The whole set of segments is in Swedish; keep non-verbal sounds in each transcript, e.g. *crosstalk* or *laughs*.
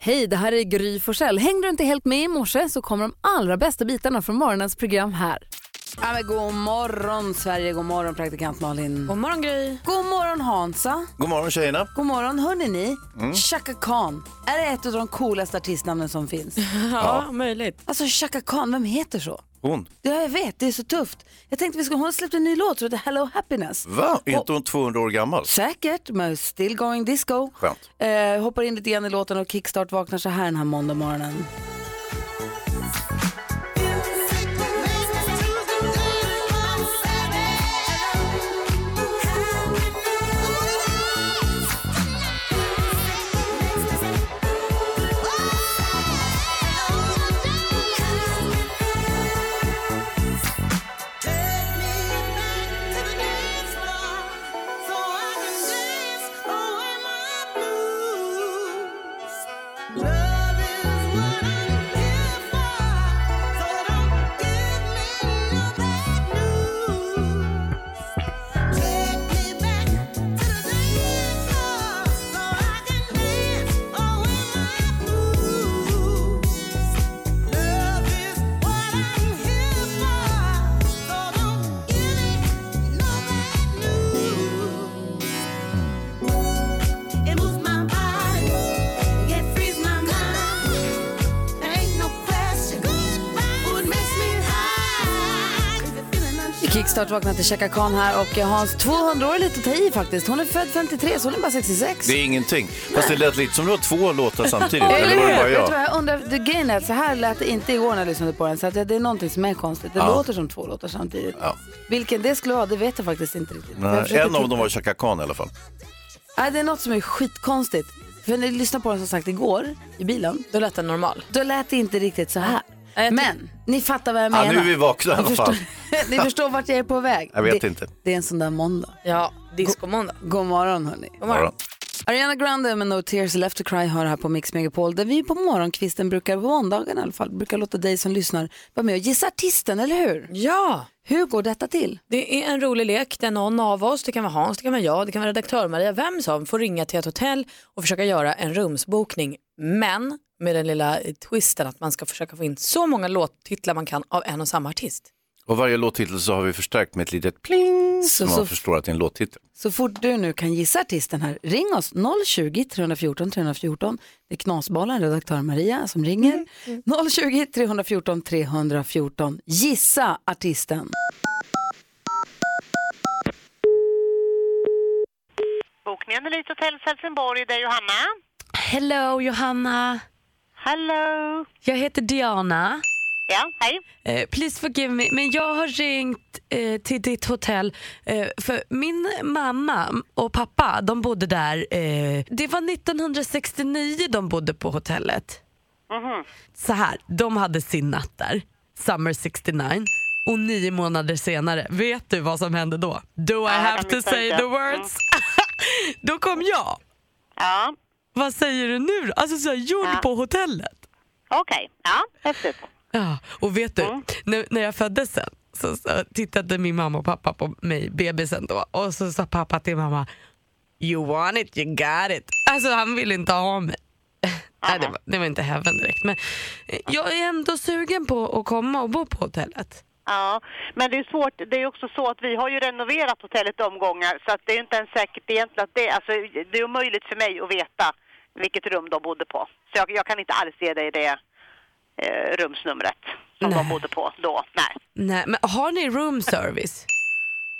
Hej, det här är Gry Forssell. Hängde du inte helt med i morse så kommer de allra bästa bitarna från morgonens program här. Ja, men god morgon Sverige, god morgon praktikant Malin. God morgon Gry. God morgon Hansa. God morgon tjejerna. God morgon hörni ni. Mm. Chaka Khan, är det ett av de coolaste artistnamnen *laughs* som finns? Ja, möjligt. Alltså Chaka Khan, vem heter så? Hon. Ja, jag vet, det är så tufft. Jag tänkte vi skulle, hon släppte en ny låt som heter Hello Happiness. Va? Är inte hon 200 år gammal? Säkert, men still going disco. Skönt. Eh, hoppar in lite grann i låten och kickstart vaknar så här den här måndag morgonen. Kickstart vaknar till Chaka Khan här och eh, Hans 200 år är lite att ta i faktiskt. Hon är född 53 så hon är bara 66. Det är ingenting. Fast det lät lite som det var två låtar samtidigt. Eller eller var det hur? bara Vet du vad jag? jag undrar? Det, grejen är att så här lät det inte igår när jag lyssnade på den. Så att det är någonting som är konstigt. Det Ja. låter som två låtar samtidigt. Ja. Vilken det skulle vara, det vet jag faktiskt inte riktigt. Men jag Nej, försöker en av titta. dem var Chaka Khan i alla fall. Nej, det är något som är skitkonstigt. För när jag lyssnade på den som sagt igår i bilen. Då lät den normal. Då lät det inte riktigt så här. Men ni fattar vad jag Ja, menar. nu är vi vakna i alla Ni fall. förstår, *laughs* ni förstår vart jag är på väg. Jag vet det, inte. Det är en sån där måndag. Ja, discomåndag. God morgon hörni. Morgon. Ariana Grande med No Tears Left To Cry hör här på Mix Megapol där vi på morgonkvisten brukar, på måndagen i alla fall, brukar låta dig som lyssnar vara med och gissa artisten, eller hur? Ja! Hur går detta till? Det är en rolig lek där någon av oss, det kan vara Hans, det kan vara jag, det kan vara redaktör Maria, vem som får ringa till ett hotell och försöka göra en rumsbokning. Men med den lilla twisten att man ska försöka få in så många låttitlar man kan av en och samma artist. Och varje låttitel så har vi förstärkt med ett litet pling så, så- man förstår att det är en låttitel. Så fort du nu kan gissa artisten här, ring oss 020 314 314. Det är Knasbollen, redaktör Maria, som ringer. 020 314 314. Gissa artisten. Bokningen Elite Hotels Helsingborg, det är Johanna. Hello Johanna. Hello! Jag heter Diana. Ja, hej. Eh, please forgive me, men jag har ringt eh, till ditt hotell eh, för min mamma och pappa, de bodde där. Eh, det var 1969 de bodde på hotellet. Så här, de hade sin natt där, Summer 69. Och nio månader senare, vet du vad som hände då? Do I jag have to missade say det. the words? *laughs* då kom jag. Ja, Vad säger du nu då? Alltså så här, gjord på hotellet. okej. Ja, häftigt. Ja, och vet du, när, när jag föddes sen så, så tittade min mamma och pappa på mig, bebisen då, och så sa pappa till mamma You want it, you got it. Alltså han ville inte ha mig. *laughs* Nej, det, var, det var inte heaven direkt. Men eh, jag är ändå sugen på att komma och bo på hotellet. Ja, men det är svårt. Det är också så att vi har ju renoverat hotellet omgångar så att det är inte ens säkert egentligen att det... Alltså, det är omöjligt för mig att veta vilket rum de bodde på. Så jag, jag kan inte alls ge dig det eh, rumsnumret som Nej. de bodde på då. Nej. Nej, men har ni room service?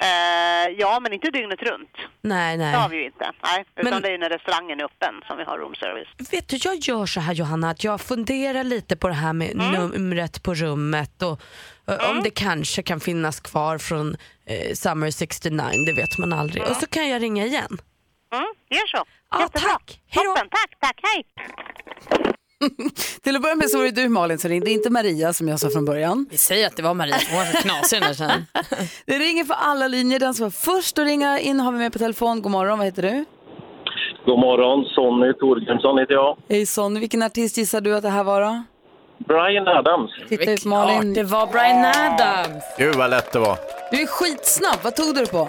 Eh, ja, men inte dygnet runt. Nej, Det har nej. vi ju inte. Nej, utan Men- det är ju när restaurangen är öppen som vi har roomservice. Vet du, jag gör så här Johanna, att jag funderar lite på det här med Mm. numret på rummet och eh, om det kanske kan finnas kvar från eh, Summer 69, det vet man aldrig. Och så kan jag ringa igen. Mm, gör så. Ja, tack. Hej då. Toppen. Tack, tack. Hej. Till att börja med så var det du Malin som ringde, inte Maria som jag sa från början. Vi säger att det var Maria, hon var så knasig den där tjejen. Det ringer för alla linjer. Den som var först att ringa in har vi med på telefon. God morgon, vad heter du? God morgon, Sonny Torgrimsson heter jag. Hej Sonny, vilken artist gissar du att det här var då? Brian Adams. Typ Titta ut Malin. Klart, det var Brian Adams. Gud vad lätt det var. Du är skitsnabb, vad tog du det på?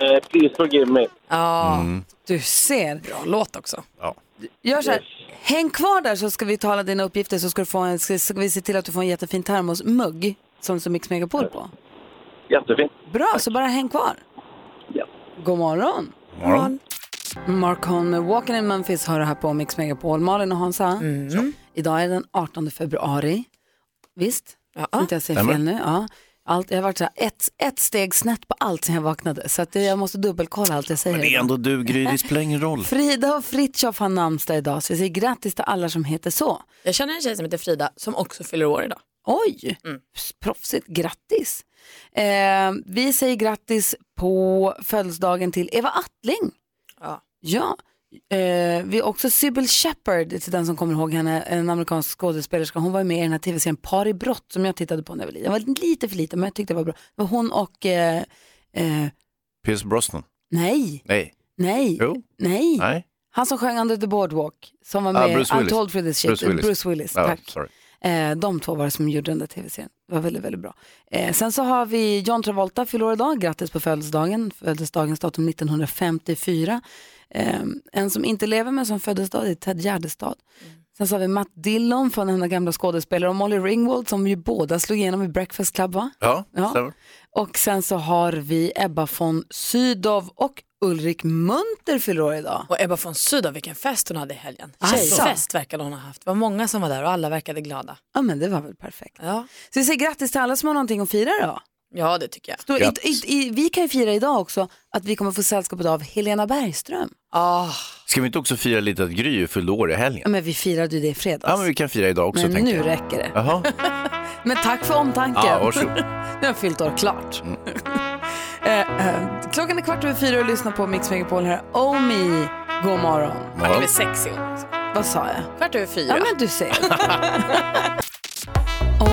Eh, please forgive me. Ja, Du ser. bra låt också. Ja. Gör så här, häng kvar där så ska vi tala dina uppgifter så ska, du få en, så ska vi se till att du får en jättefin termosmugg som, som Mix Megapol på. Jättefint. Bra, så bara häng kvar. Ja. God morgon. Morgon. Mark Holm med Walking in Memphis har du här på Mix Megapol. Malin och Hansa, idag är den 18 februari. Visst? Ja. Så inte jag säger Stämmer. fel nu. Ja. Allt, jag har varit så här ett, ett steg snett på allt sen jag vaknade. Så att det- jag måste dubbelkolla allt jag säger. Men det är ändå du Gry, det spelar ingen roll. Frida och Fritiof har namnsdag idag, så vi säger grattis till alla som heter så. Jag känner en tjej som heter Frida som också fyller år idag. Oj, proffsigt. Grattis. Eh, vi säger grattis på födelsedagen till Eva Attling. Ja. Ja. Eh, vi har också Sybil Shepherd, till den som kommer ihåg henne, en amerikansk skådespelerska. Hon var ju med i den här tv-serien Par i brott som jag tittade på när jag var liten. Jag var lite för liten men jag tyckte det var bra. Det var hon och, eh, eh, Pierce Brosnan. nej, Nej. nej, Jo. nej. Nej. Han som sjöng Under the Boardwalk, som var Ah, med i Bruce Willis. Untold for this shit. Bruce Willis. Ja, tack. sorry. Eh, de två var det som gjorde den där tv-serien. Det var väldigt, väldigt bra. Eh, sen så har vi John Travolta, fyller år idag. Grattis på födelsedagen. Födelsedagens datum 1954. Eh, en som inte lever men som föddes idag det är Ted Gärdestad. Sen så har vi Matt Dillon från den gamla skådespelaren och Molly Ringwald som ju båda slog igenom i Breakfast Club va? Ja, Ja. stämmer. Och sen så har vi Ebba von Sydow och Ulrik Munter fyller år idag. Och Ebba von Sydow, vilken fest hon hade i helgen. Alltså. Tjejfest verkade hon ha haft. Det var många som var där och alla verkade glada. Ja men det var väl perfekt. Ja, Så vi säger grattis till alla som har någonting att fira då. ja det tycker jag. Då, i, i, Grattis. i, vi kan ju fira idag också att vi kommer få sällskapet av Helena Bergström. Ah, Ska vi inte också fira lite att Gry fyllde år i Ja, helgen? men vi firade ju det i fredags. Ja, men vi kan fira idag också Men tänker nu jag. räcker det. Jaha, Men tack för omtanken. ja, varsågod. Mm. nu har *laughs* jag fyllt år klart. *laughs* eh, eh, klockan är kvart över fyra och lyssna på Mix Megapol här. Omi, god morgon. det är Morgon. väl sex i år. Vad sa jag? Kvart över fyra. Ja, men du ser.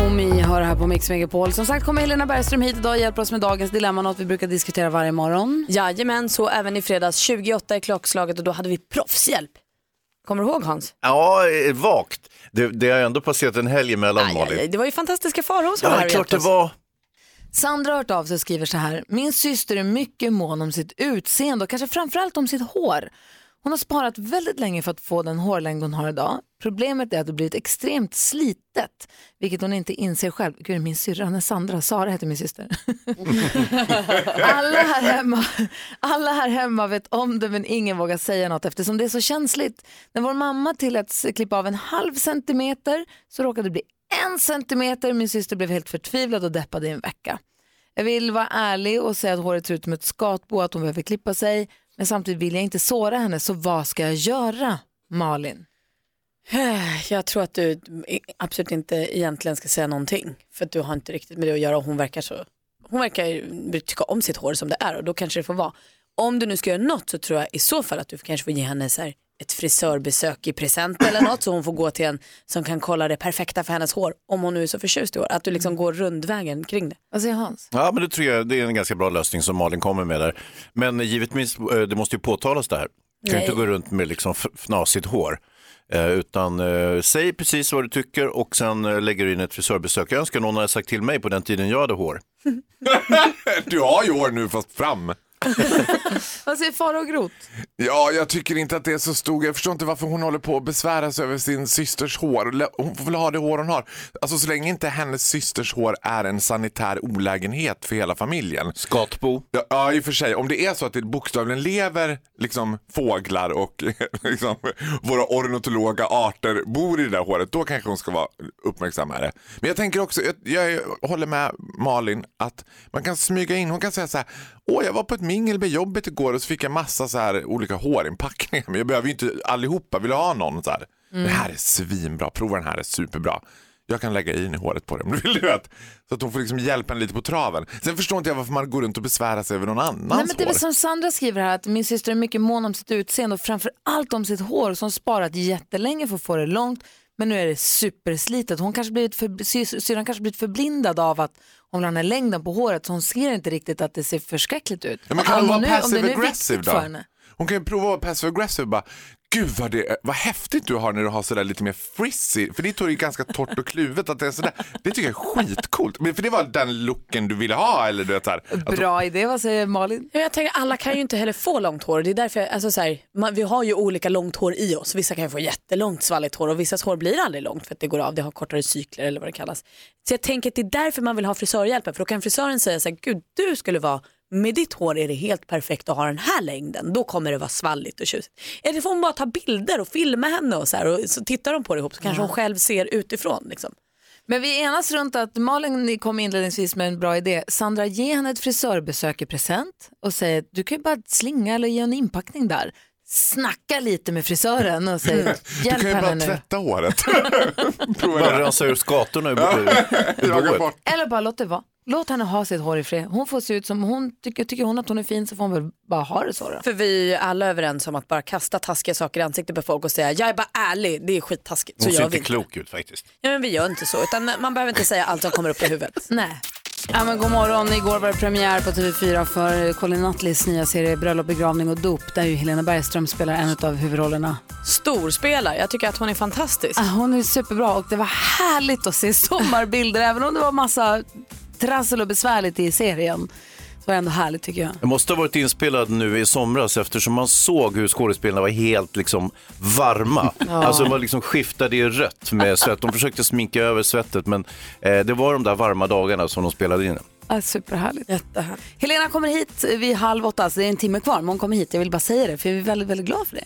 Omi har det här på Mix Megapol. Som sagt kommer Helena Bergström hit idag och hjälper oss med dagens dilemma, något vi brukar diskutera varje morgon. Jajamän, så även i fredags 28 i klockslaget och då hade vi proffshjälp. Kommer du ihåg Hans? Ja, eh, vagt. Det, det har ändå passerat en helg emellan Aj, aj, aj, Malin. det var ju fantastiska faror som var här Ja, och klart hjälpte det oss. var. Sandra har hört av sig och skriver så här. Min syster är mycket mån om sitt utseende och kanske framförallt om sitt hår. Hon har sparat väldigt länge för att få den hårlängd hon har idag. Problemet är att det blivit extremt slitet, vilket hon inte inser själv. Gud, min syrra, hon är Sandra, Sara heter min syster. alla, här hemma, alla här hemma vet om det men ingen vågar säga något eftersom det är så känsligt. När vår mamma tilläts klippa av en halv centimeter så råkade det bli en centimeter. Min syster blev helt förtvivlad och deppad i en vecka. Jag vill vara ärlig och säga att håret ser ut som ett skatbo, att hon behöver klippa sig. Men samtidigt vill jag inte såra henne, så vad ska jag göra, Malin? *sighs* Jag tror att du absolut inte egentligen ska säga någonting. För att du har inte riktigt med det att göra och hon verkar så. Hon verkar ju tycka om sitt hår som det är och då kanske det får vara. Om du nu ska göra något så tror jag i så fall att du kanske får ge henne så här ett frisörbesök i present eller något så hon får gå till en som kan kolla det perfekta för hennes hår. Om hon nu är så förtjust i hår. Att du liksom går rundvägen kring det. Vad säger Hans? Ja, men det tror jag det är en ganska bra lösning som Malin kommer med där. Men givetvis, eh, det måste ju påtalas det här. Du kan ju inte Nej. gå runt med liksom f- fnasigt hår. Eh, Utan eh, säg precis vad du tycker och sen eh, lägger du in ett frisörbesök. Jag önskar någon hade sagt till mig på den tiden jag hade hår. Du har ju år nu fast fram. Vad säger far och grot? Ja, jag tycker inte att det är så stor Jag förstår inte varför hon håller på att besvära sig över sin systers hår. Lä- Hon får väl ha det hår hon har. Alltså så länge inte hennes systers hår är en sanitär olägenhet för hela familjen. Skatbo. Ja, ja i och för sig. Om det är så att det bokstavligen lever liksom, fåglar och *laughs* liksom, våra ornitologa arter bor i det där håret, då kanske hon ska vara uppmärksammare. Men jag tänker också, jag, jag håller med Malin, att man kan smyga in, hon kan säga så här, åh jag var på ett mingel med jobbet igår och så fick jag massa så här olika hårinpackningar, *laughs* men jag behöver ju inte allihopa, vill jag ha någon? Så här, Det här är svinbra, prova den här, är superbra. Jag kan lägga in i håret på det om du vill. Du vet. Så att hon får liksom hjälpa en lite på traven. Sen förstår inte jag varför man går runt och besvärar sig över någon annans Nej, men det är hår. väl som Sandra skriver här, att min syster är mycket mån om sitt utseende och framför allt om sitt hår som sparat jättelänge för att få det långt. Men nu är det superslitet. Hon kanske blivit för, sy- syrran kanske blivit förblindad av att hon vill ha den här längden på håret så hon ser inte riktigt att det ser förskräckligt ut. Ja, men kan hon Om vara nu- om det nu är passive viktigt aggressive för då? henne. Hon kan ju prova att vara passive aggressive bara. Gud vad, det, vad häftigt du har när du har sådär lite mer frizzy. För ditt hår är ju ganska torrt och kluvet. Att det, är sådär. det tycker jag är skitcoolt. Men för det var den looken du ville ha eller du vet såhär. Att- Bra idé, vad säger Malin? Ja, Jag tänker, alla kan ju inte heller få långt hår. Det är därför, jag- alltså, så här, man, vi har ju olika långt hår i oss. Vissa kan ju få jättelångt svalligt hår och vissas hår blir aldrig långt för att det går av. Det har kortare cykler eller vad det kallas. Så jag tänker att det är därför man vill ha frisörhjälpen. För då kan frisören säga så här, gud du skulle vara, med ditt hår är det helt perfekt att ha den här längden. Då kommer det vara svalligt och tjusigt. Eller får hon bara ta bilder och filma henne och så här. Och så tittar de på det ihop så kanske hon själv ser utifrån. Liksom. Men vi enas runt att Malin ni kom inledningsvis med en bra idé. Sandra, ge henne ett frisörbesök i present och säg att du kan ju bara slinga eller ge en inpackning där. Snacka lite med frisören och säg Mm. Du hjälp kan ju bara henne nu. tvätta *laughs* håret. Prova Bara det. rensa ur skatorna ur boet. Jaga bort. Eller bara låt det vara. Låt henne ha sitt hår i fred. Hon får se ut som hon tycker, tycker hon att hon är fin så får hon väl bara ha det så då. För vi är ju alla överens om att bara kasta taskiga saker i ansiktet på folk och säga jag är bara ärlig, det är skittaskigt. Så Hon ser gör inte vi inte. klok ut faktiskt. Ja, men vi gör inte så, utan man behöver inte säga allt som kommer upp i huvudet. Nej. Ja, men god morgon. Igår var det premiär på TV4 för Colin Nutleys nya serie Bröllop, begravning och dop där ju Helena Bergström spelar en av huvudrollerna. Storspelare, jag tycker att hon är fantastisk. Ah, Hon är superbra och det var härligt att se sommarbilder även om det var massa trassel och besvärligt i serien. Så var det ändå härligt tycker jag. Det måste ha varit inspelad nu i somras eftersom man såg hur skådespelarna var helt liksom varma. Alltså de var liksom skiftade i rött med svett. De försökte sminka över svettet men eh, det var de där varma dagarna som de spelade in. Ah, superhärligt. Helena kommer hit vid halv åtta, så det är en timme kvar, men hon kommer hit. Jag vill bara säga det, för jag är väldigt, väldigt glad för det.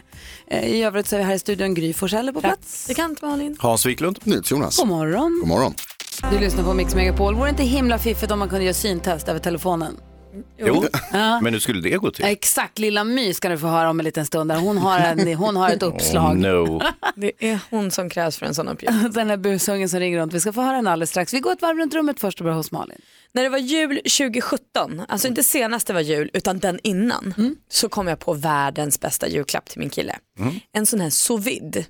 Eh, I övrigt så är vi här i studion, Gry Forssell är på plats. Praktikant Malin. Hans Wiklund. Jonas. God morgon. God morgon. Du lyssnar på Mix Megapol. Vore det inte himla fiffigt om man kunde göra syntest över telefonen? Jo, men hur skulle det gå till? Exakt, lilla My ska du få höra om en liten stund. Där. Hon, har en, hon har ett Oh, uppslag. no. Det är hon som krävs för en sån uppgift. *laughs* Den här busungen som ringer runt. Vi ska få höra den alldeles strax. Vi går ett varv runt rummet först och börjar hos Malin. När det var jul 2017, alltså inte senaste var jul utan den innan, så kom jag på världens bästa julklapp till min kille. En sån här sous vide.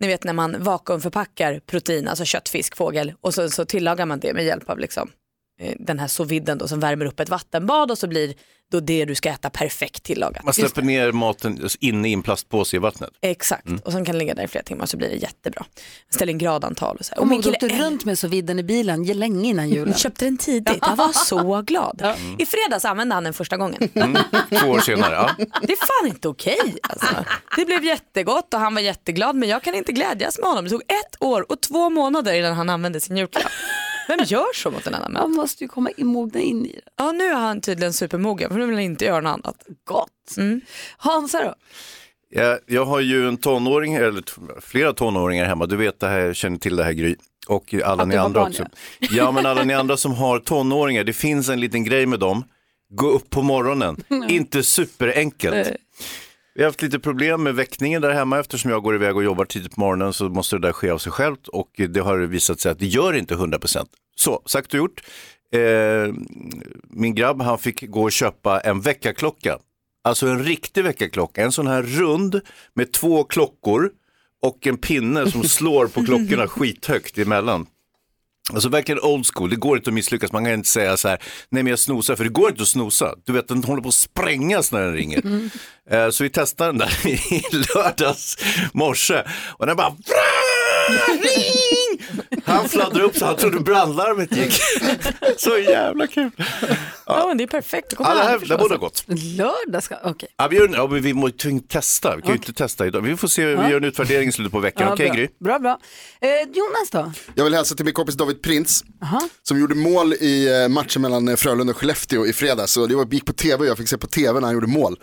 Ni vet när man vakuumförpackar protein, alltså kött, fisk, fågel och så, så tillagar man det med hjälp av liksom, eh, den här sous viden då som värmer upp ett vattenbad och så blir då det du ska äta perfekt tillagat. Man släpper ner maten inne i en plastpåse i vattnet. Exakt, och sen kan det ligga där i flera timmar så blir det jättebra. Ställ in gradantal och så. Här. Och Hon min åkte kille åkte runt med så vidden i bilen ju länge innan *laughs* julen. köpte den tidigt, han var så glad. I fredags använde han den första gången. Två år senare, ja. Det är fan inte okej. Alltså. Det blev jättegott och han var jätteglad men jag kan inte glädjas med honom. Det tog ett år och två månader innan han använde sin julklapp. Vem gör så mot en annan människa? Man måste ju komma mogna in i det. Ja, nu är han tydligen supermogen för nu vill han inte göra något annat. Mm. Gott. Hansa då? Jag, jag har ju en tonåring, eller t- flera tonåringar hemma. Du vet det här, känner till det här Gry. Och alla Att ni du var andra barn, också. Ja, men alla ni andra som har tonåringar, det finns en liten grej med dem. Gå upp på *laughs* morgonen. Inte superenkelt. Vi har haft lite problem med väckningen där hemma eftersom jag går iväg och jobbar tidigt på morgonen så måste det där ske av sig självt och det har visat sig att det gör inte 100%. Så, sagt och gjort. Eh, min grabb han fick gå och köpa en väckarklocka. Alltså en riktig väckarklocka, en sån här rund med två klockor och en pinne *laughs* som slår på klockorna skithögt emellan. Alltså verkligen old school, det går inte att misslyckas. Man kan inte säga så här, nej men jag snosar, för det går inte att snosa. Du vet, den håller på att sprängas när den ringer. Mm. Eh, Så vi testade den där *laughs* i lördags morse och den bara "Vrrr, ring! Han fladdrade upp så han trodde brandlarmet gick. *laughs* Så jävla kul. Ja, men det är perfekt. Då kommer Ja, det han här, förstå det här bådar sig. gott. Lördag ska... Okej. Ja, vi, gör, ja, men vi måste ju testa, vi kan ju inte testa idag. Vi får se, vi gör en utvärdering i slutet på veckan. Okej bra. Gry? Bra, bra. Eh, Jonas då? Jag vill hälsa till min kompis David Prins som gjorde mål i eh, matchen mellan eh, Frölunda och Skellefteå i fredags. Så det var- gick på tv och jag fick se på tv när han gjorde mål.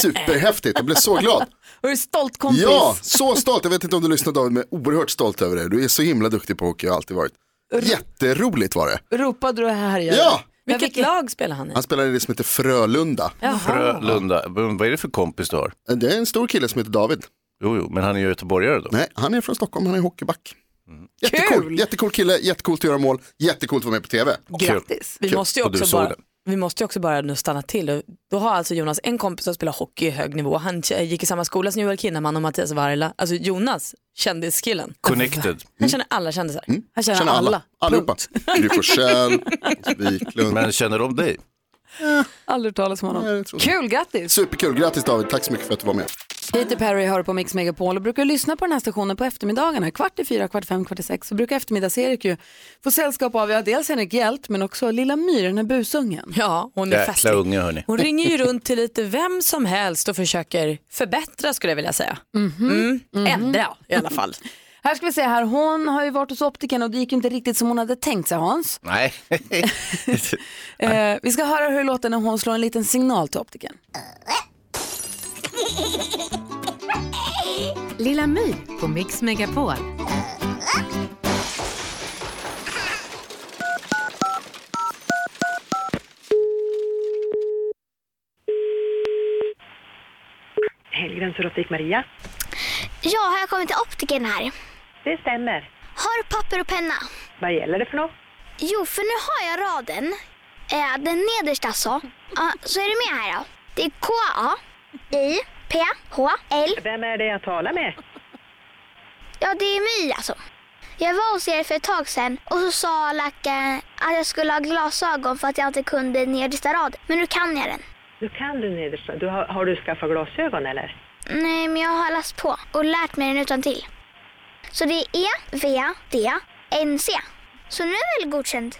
Superhäftigt, jag blev så glad. Är du stolt kompis? Ja, så stolt. Jag vet inte om du lyssnar David, men jag är oerhört stolt över det. Du är så himla duktig på hockey och har alltid varit. Jätteroligt var det. Ropade du här? Ja, Vilket lag spelar han i? han spelade i det som heter Frölunda. Frölunda, Men vad är det för kompis du har? Det är en stor kille som heter David. Jo, jo, men han är ju göteborgare då. Nej, han är från Stockholm, han är hockeyback. Mm. Jättecool, jättecool kille, jättekult att göra mål, jättekult att vara med på tv. Grattis. Vi Kul. måste, ju Och du också såg bara, den. vi måste ju också bara nu stanna till. Och Då har alltså Jonas en kompis som spelar hockey i hög nivå. Han k- gick i samma skola som Joel Kinnaman och Mattias Varela. Alltså Jonas, kändiskillen. Connected. Han känner alla kändisar. Han Mm. känner, Känner alla, alla. allihopa. Gry Forssell, Mm. Wiklund. Men känner de dig? Aldrig hört talas om honom. Nej, jag tror inte. Kul, grattis. Superkul, grattis David, tack så mycket för att du var med. Katy Perry hör på Mix Megapol och brukar lyssna på den här stationen på eftermiddagarna. Kvart i fyra, kvart i fem, kvart i sex så brukar eftermiddags-Erik ju få sällskap av ja, dels Henrik Hjält men också lilla My, den här busungen. Ja, hon är Jäkla festlig. unge hörni. Hon ringer ju runt till lite vem som helst och försöker förbättra skulle jag vilja säga. Mhm. Mm. Ändra i alla fall. Här ska vi se här, hon har ju varit hos optiken och det gick ju inte riktigt som hon hade tänkt sig Hans. *laughs* Nej. Eh, vi ska höra hur det låter när hon slår en liten signal till optiken. Lilla My på Mix Megapol. Helgrens Erotik Maria. Ja, har jag kommit till optiken här? Det stämmer. Har du papper och penna? Vad gäller det för något? Jo, för nu har jag raden. Eh, den nedersta alltså. Ja, så är du med här då. Det är K-A-I-P-H-L. Vem är det jag talar med? Ja, det är My alltså. Jag var hos er för ett tag sedan och så sa läkaren att jag skulle ha glasögon för att jag inte kunde nedersta raden. Men nu kan jag den. Du kan du nedersta. Du har, har du skaffat glasögon eller? Nej, men jag har läst på och lärt mig den utan till. Så det är E, V, D, N, C. Så nu är väl godkänd?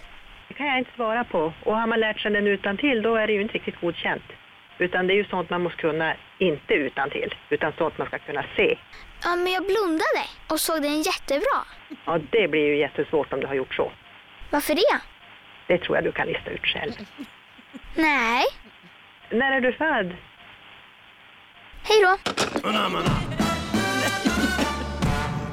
Det kan jag inte svara på. Och har man lärt sig den utan till då är det ju inte riktigt godkänt. Utan det är ju sånt man måste kunna, inte utan till, utan sånt man ska kunna se. Ja, men jag blundade och såg den jättebra. Ja, det blir ju jättesvårt om du har gjort så. Varför det? Det tror jag du kan lista ut själv. Nej. När är du född? Hej då.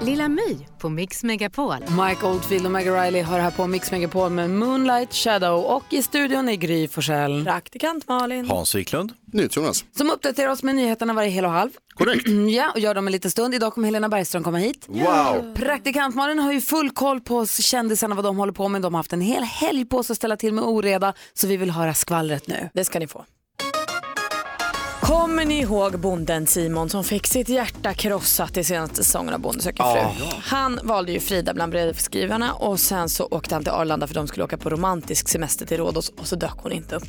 Lilla My på Mix Megapol. Mike Oldfield och Maggie Riley har här på Mix Megapol med Moonlight Shadow och i studion är Gry Forssell. Praktikant Malin. Hans Wiklund. NyhetsJonas. Som uppdaterar oss med nyheterna varje hel och halv. Korrekt. *clears throat* Ja, och gör dem en liten stund. Idag kommer Helena Bergström komma hit. Wow. Praktikantmannen har ju full koll på kändisarna, vad de håller på med. De har haft en hel helg på sig att ställa till med oreda, så vi vill höra skvallret nu. Det ska ni få. Kommer ni ihåg bonden Simon som fick sitt hjärta krossat i senaste säsongen av Bonde söker fru? Han valde ju Frida bland brevskrivarna och sen så åkte han till Arlanda för de skulle åka på romantisk semester till Rhodos och så dök hon inte upp.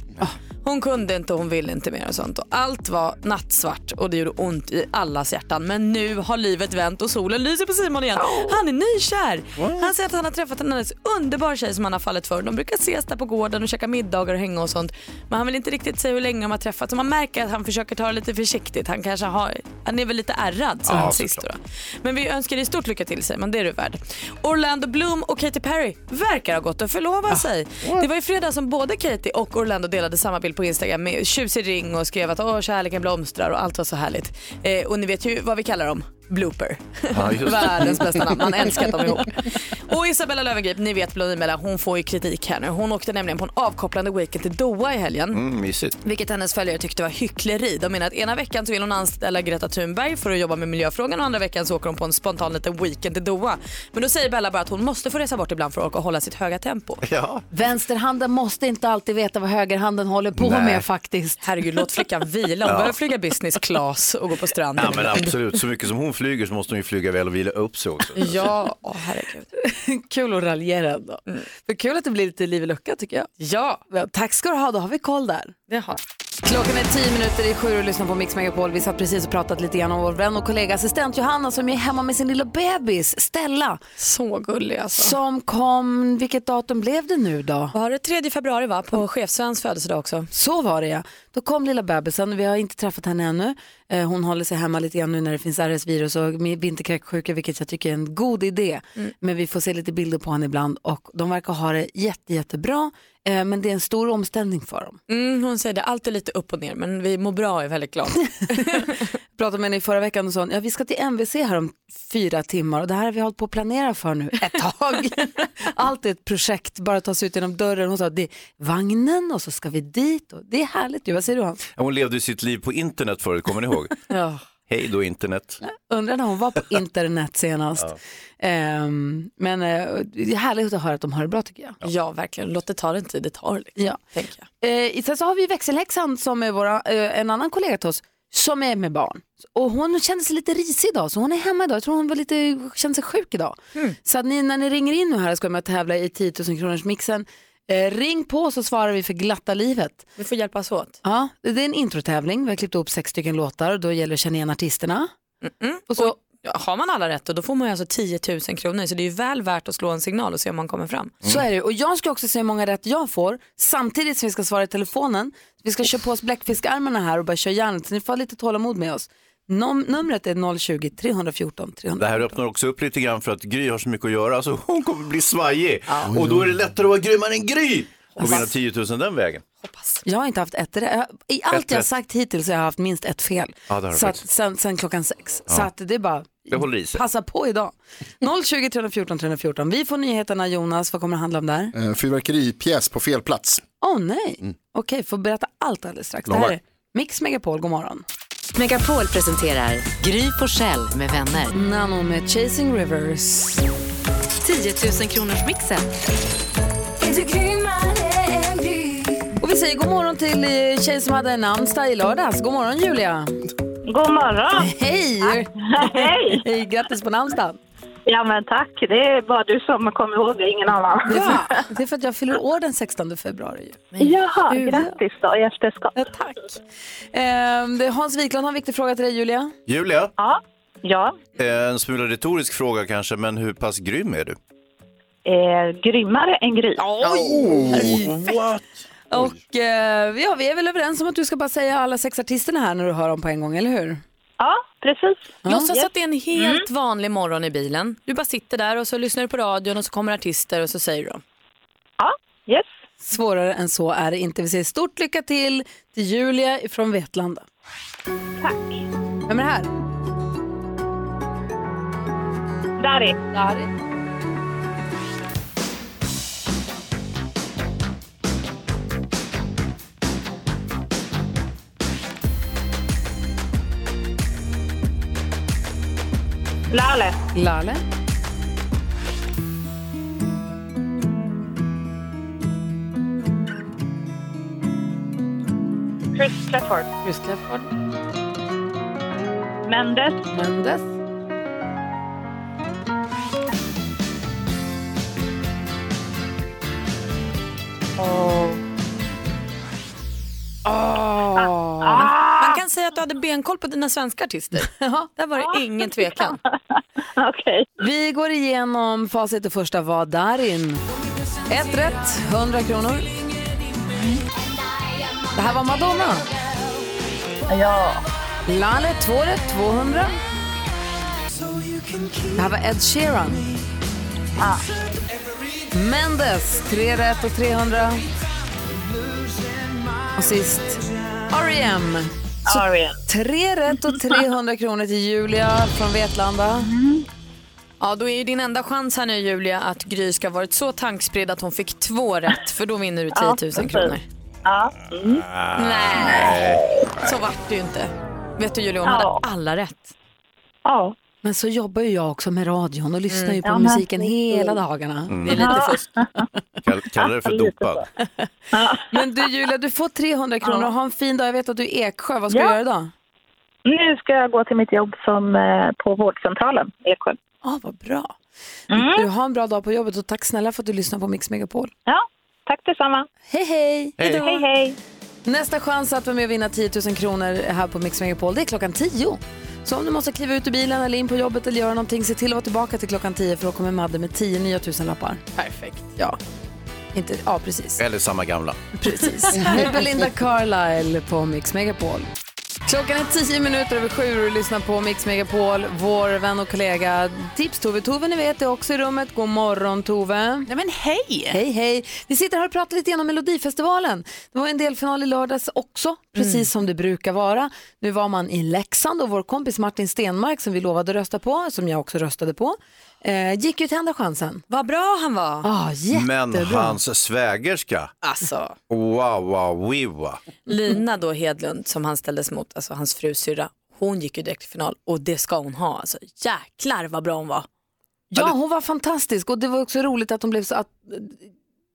Hon kunde inte och hon ville inte mer och sånt och allt var nattsvart och det gjorde ont i allas hjärtan. Men nu har livet vänt och solen lyser på Simon igen. Han är nykär. Han säger att han har träffat en alldeles underbar tjej som han har fallit för. De brukar ses där på gården och käka middagar och hänga och sånt. Men han vill inte riktigt säga hur länge de har träffats. Så man märker att han försöker ta det lite försiktigt. Han kanske har, han är väl lite ärrad som Ja, han sist. Då. Men vi önskar dig stort lycka till Simon, det är du värd. Orlando Bloom och Katy Perry verkar ha gått och förlovat sig. Det var i fredag som både Katy och Orlando delade samma bild på Instagram med tjusig ring och skrev att Åh, kärleken blomstrar och allt var så härligt. Eh, och ni vet ju vad vi kallar dem. Blooper. Ja, just det. Världens bästa namn. Man älskar att de är ihop. Och Isabella Löwengrip, ni vet Blondinbella, hon får ju kritik här nu. Hon åkte nämligen på en avkopplande weekend till Doha i helgen. Mm, mysigt. Vilket hennes följare tyckte var hyckleri. De menar att ena veckan så vill hon anställa Greta Thunberg för att jobba med miljöfrågan och andra veckan så åker hon på en spontan liten weekend till Doha. Men då säger Bella bara att hon måste få resa bort ibland för att orka hålla sitt höga tempo. Ja. Vänsterhanden måste inte alltid veta vad högerhanden håller på Nej. med faktiskt. Herregud, låt flickan vila. Hon behöver flyga business class och gå på stranden. ja, men absolut. Så mycket som hon flyger så måste hon ju flyga väl och vila upp sig också. Mm. Ja, åh, herregud. Kul att raljera ändå. För kul att det blir lite liv i lucka tycker jag. Ja, Ja, Tack ska du ha, då har vi koll där. det har Klockan är tio minuter i sju och lyssnar på Mix Megapol. Vi satt precis och pratat lite grann om vår vän och kollega assistent Johanna som är hemma med sin lilla bebis Stella. Så gullig alltså. Som kom, vilket datum blev det nu då? Var det 3 februari va? På chefsvens födelsedag också. Så var det ja. Då kom lilla bebisen, vi har inte träffat henne ännu. Eh, Hon håller sig hemma lite grann nu när det finns RS-virus och med vinterkräksjuka vilket jag tycker är en god idé. Mm. Men vi får se lite bilder på henne ibland och de verkar ha det jätte, jättebra. Eh, Men det är en stor omställning för dem. Mm, hon säger det alltid lite upp och ner men vi mår bra och är väldigt glada. pratade med henne i förra veckan och sa ja, vi ska till MVC här om fyra timmar och det här har vi hållit på att planera för nu ett *laughs* tag. Allt är ett projekt, bara ta sig ut genom dörren. Hon sa det är vagnen och så ska vi dit och det är härligt. ju. Vad säger du Hans? Ja, Hon levde ju sitt liv på internet förut, kommer ni ihåg? Ja. Hej då internet. Undrar när hon *laughs* var på internet senast. Ehm, men eh, det är härligt att höra att de har det bra tycker jag. Ja, verkligen. Låt det ta den tid det tar. Liksom, Ja. tänker jag. Eh, sen så har vi växelhäxan som är våra, eh, en annan kollega till oss som är med barn. Och hon kände sig lite risig idag så hon är hemma idag. Jag tror hon var lite, kände sig sjuk idag. Så att ni, när ni ringer in nu här ska jag med att tävla i 10 000 kronors mixen Eh, ring på så svarar vi för glatta livet. Vi får hjälpas åt. Ja, det är en introtävling. Vi har klippt upp sex stycken låtar och då gäller det att känna igen artisterna. Mm. Och så, har man alla rätt och då får man ju alltså 10 000 kronor så det är ju väl värt att slå en signal och se om man kommer fram. Så är det Och jag ska också se hur många rätt jag får samtidigt som vi ska svara i telefonen. Vi ska köra på oss bläckfiskarmarna här och börja köra järnet så ni får ha lite tålamod med oss. Num- numret är 020-314 300. Det här öppnar också upp lite grann för att Gry har så mycket att göra så hon kommer bli svajig. Och då är det lättare att vara grymmare än Gry och vinna 10 000 den vägen. Jag har inte haft ett rätt. I allt Ett jag har rätt. sagt hittills har jag haft minst ett fel. Ja, det har du så att, faktiskt. sen, sen klockan sex. Ja. Så att det är bara Det håller i sig. passa på idag. 020 314 314. Vi får nyheterna Jonas, vad kommer det handla om där? Eh, Fyrverkeripjäs på fel plats. Åh oh, nej, okej, får berätta allt alldeles strax. Det här är Mix Megapol, god morgon. Megapol presenterar Gry på Själ med vänner. Nano med Chasing Rivers. 10 000 kronors mixen. Och vi säger god morgon till eh, tjej som hade namnsdag i lördags. God morgon Julia. God *laughs* morgon! Hej! Hej! Hej, grattis på namnsdagen. Ja men tack, det är bara du som kommer ihåg det, ingen annan. Ja, det är för att jag fyller år den 16 februari. ju. *laughs* Jaha, Gud, grattis då i efterskott. tack. Ehm, det är Hans Wiklund har en viktig fråga till dig Julia. Julia? Ja. ja. En smula retorisk fråga kanske, men hur pass grym är du? Eh, grymmare än Gry. What? Och eh, ja, vi är väl överens om att du ska bara säga alla sex artisterna här när du hör dem på en gång, eller hur? Ja, precis. Mm. Låtsas att det är en helt vanlig morgon i bilen. Du bara sitter där och så lyssnar du på radion och så kommer artister och så säger du dem. Yes. Svårare än så är det inte. Vi säger stort lycka till till Julia från Vetlanda. Tack. Vem är det här? Dari. Dari. Lale. Lale. Chris Clifford. Chris Clifford. Mendes. Mendes. Och... Man kan säga att du hade benkoll på dina svenska artister. Ja, där var det ingen tvekan. Vi går igenom facit. Det första var Darin. Ett rätt, 100 kronor. Det här var Madonna. Ja. Lale, två rätt, 200. Det här var Ed Sheeran. Mendes, tre rätt och 300. Och sist E R.E.M. Så E Tre rätt och 300 kronor till Julia från Vetlanda. Mm. Ja, då är ju din enda chans här nu Julia att Gry ska ha varit så tankspridd att hon fick två rätt för då vinner Ja, du 10 000 precis. kronor. Ja. Mm. Nej, så vart det ju inte. Vet du Julia, hon Ja. hade alla rätt. Ja. Men så jobbar ju jag också med radion och lyssnar Mm. ju på Ja, men- musiken hela dagarna. Mm. Det är lite Ja. fusk. Kall, kallar *laughs* det för dopad? Men du Julia, du får 300 kronor och ha en fin dag. Jag vet att du är i Eksjö. Vad ska Ja. du göra idag? Nu ska jag gå till mitt jobb som, eh, på vårdcentralen i Eksjö. Ja, vad bra. Du har en bra dag på jobbet och tack snälla för att du lyssnar på Mix Megapol. Ja, tack detsamma. Hej hej! Hejdå. Hej, hej. Nästa chans att vara med och vinna 10 000 kronor här på Mix Megapol, det är klockan 10. Så om du måste kliva ut ur bilen eller in på jobbet eller göra någonting, se till att vara tillbaka till klockan 10 för då kommer Madde med 10 nya tusenlappar. Perfekt. Ja. Inte, ja, *laughs* precis. Eller samma gamla. Precis. Med Belinda Carlisle på Mix Megapol. Klockan är tio minuter över sju och du lyssnar på Mix Megapol. Vår vän och kollega Tips-Tove. Tove ni vet är också i rummet. God morgon Tove. Nej men hej! Hej hej. Vi sitter här och pratar lite grann om Melodifestivalen. Det var en delfinal i lördags också, precis Mm. som det brukar vara. Nu var man i Leksand och vår kompis Martin Stenmark som vi lovade att rösta på, som jag också röstade på, eh, gick ju till Andra chansen. Vad bra han var. Ah, jättebra. Men hans svägerska. Alltså. Wow, wow, wiwa. Lina då Hedlund som han ställdes mot, alltså hans frus syrra, hon gick ju direkt till final och det ska hon ha. Alltså, jäklar vad bra hon var. Ja, hon var fantastisk och det var också roligt att de blev så att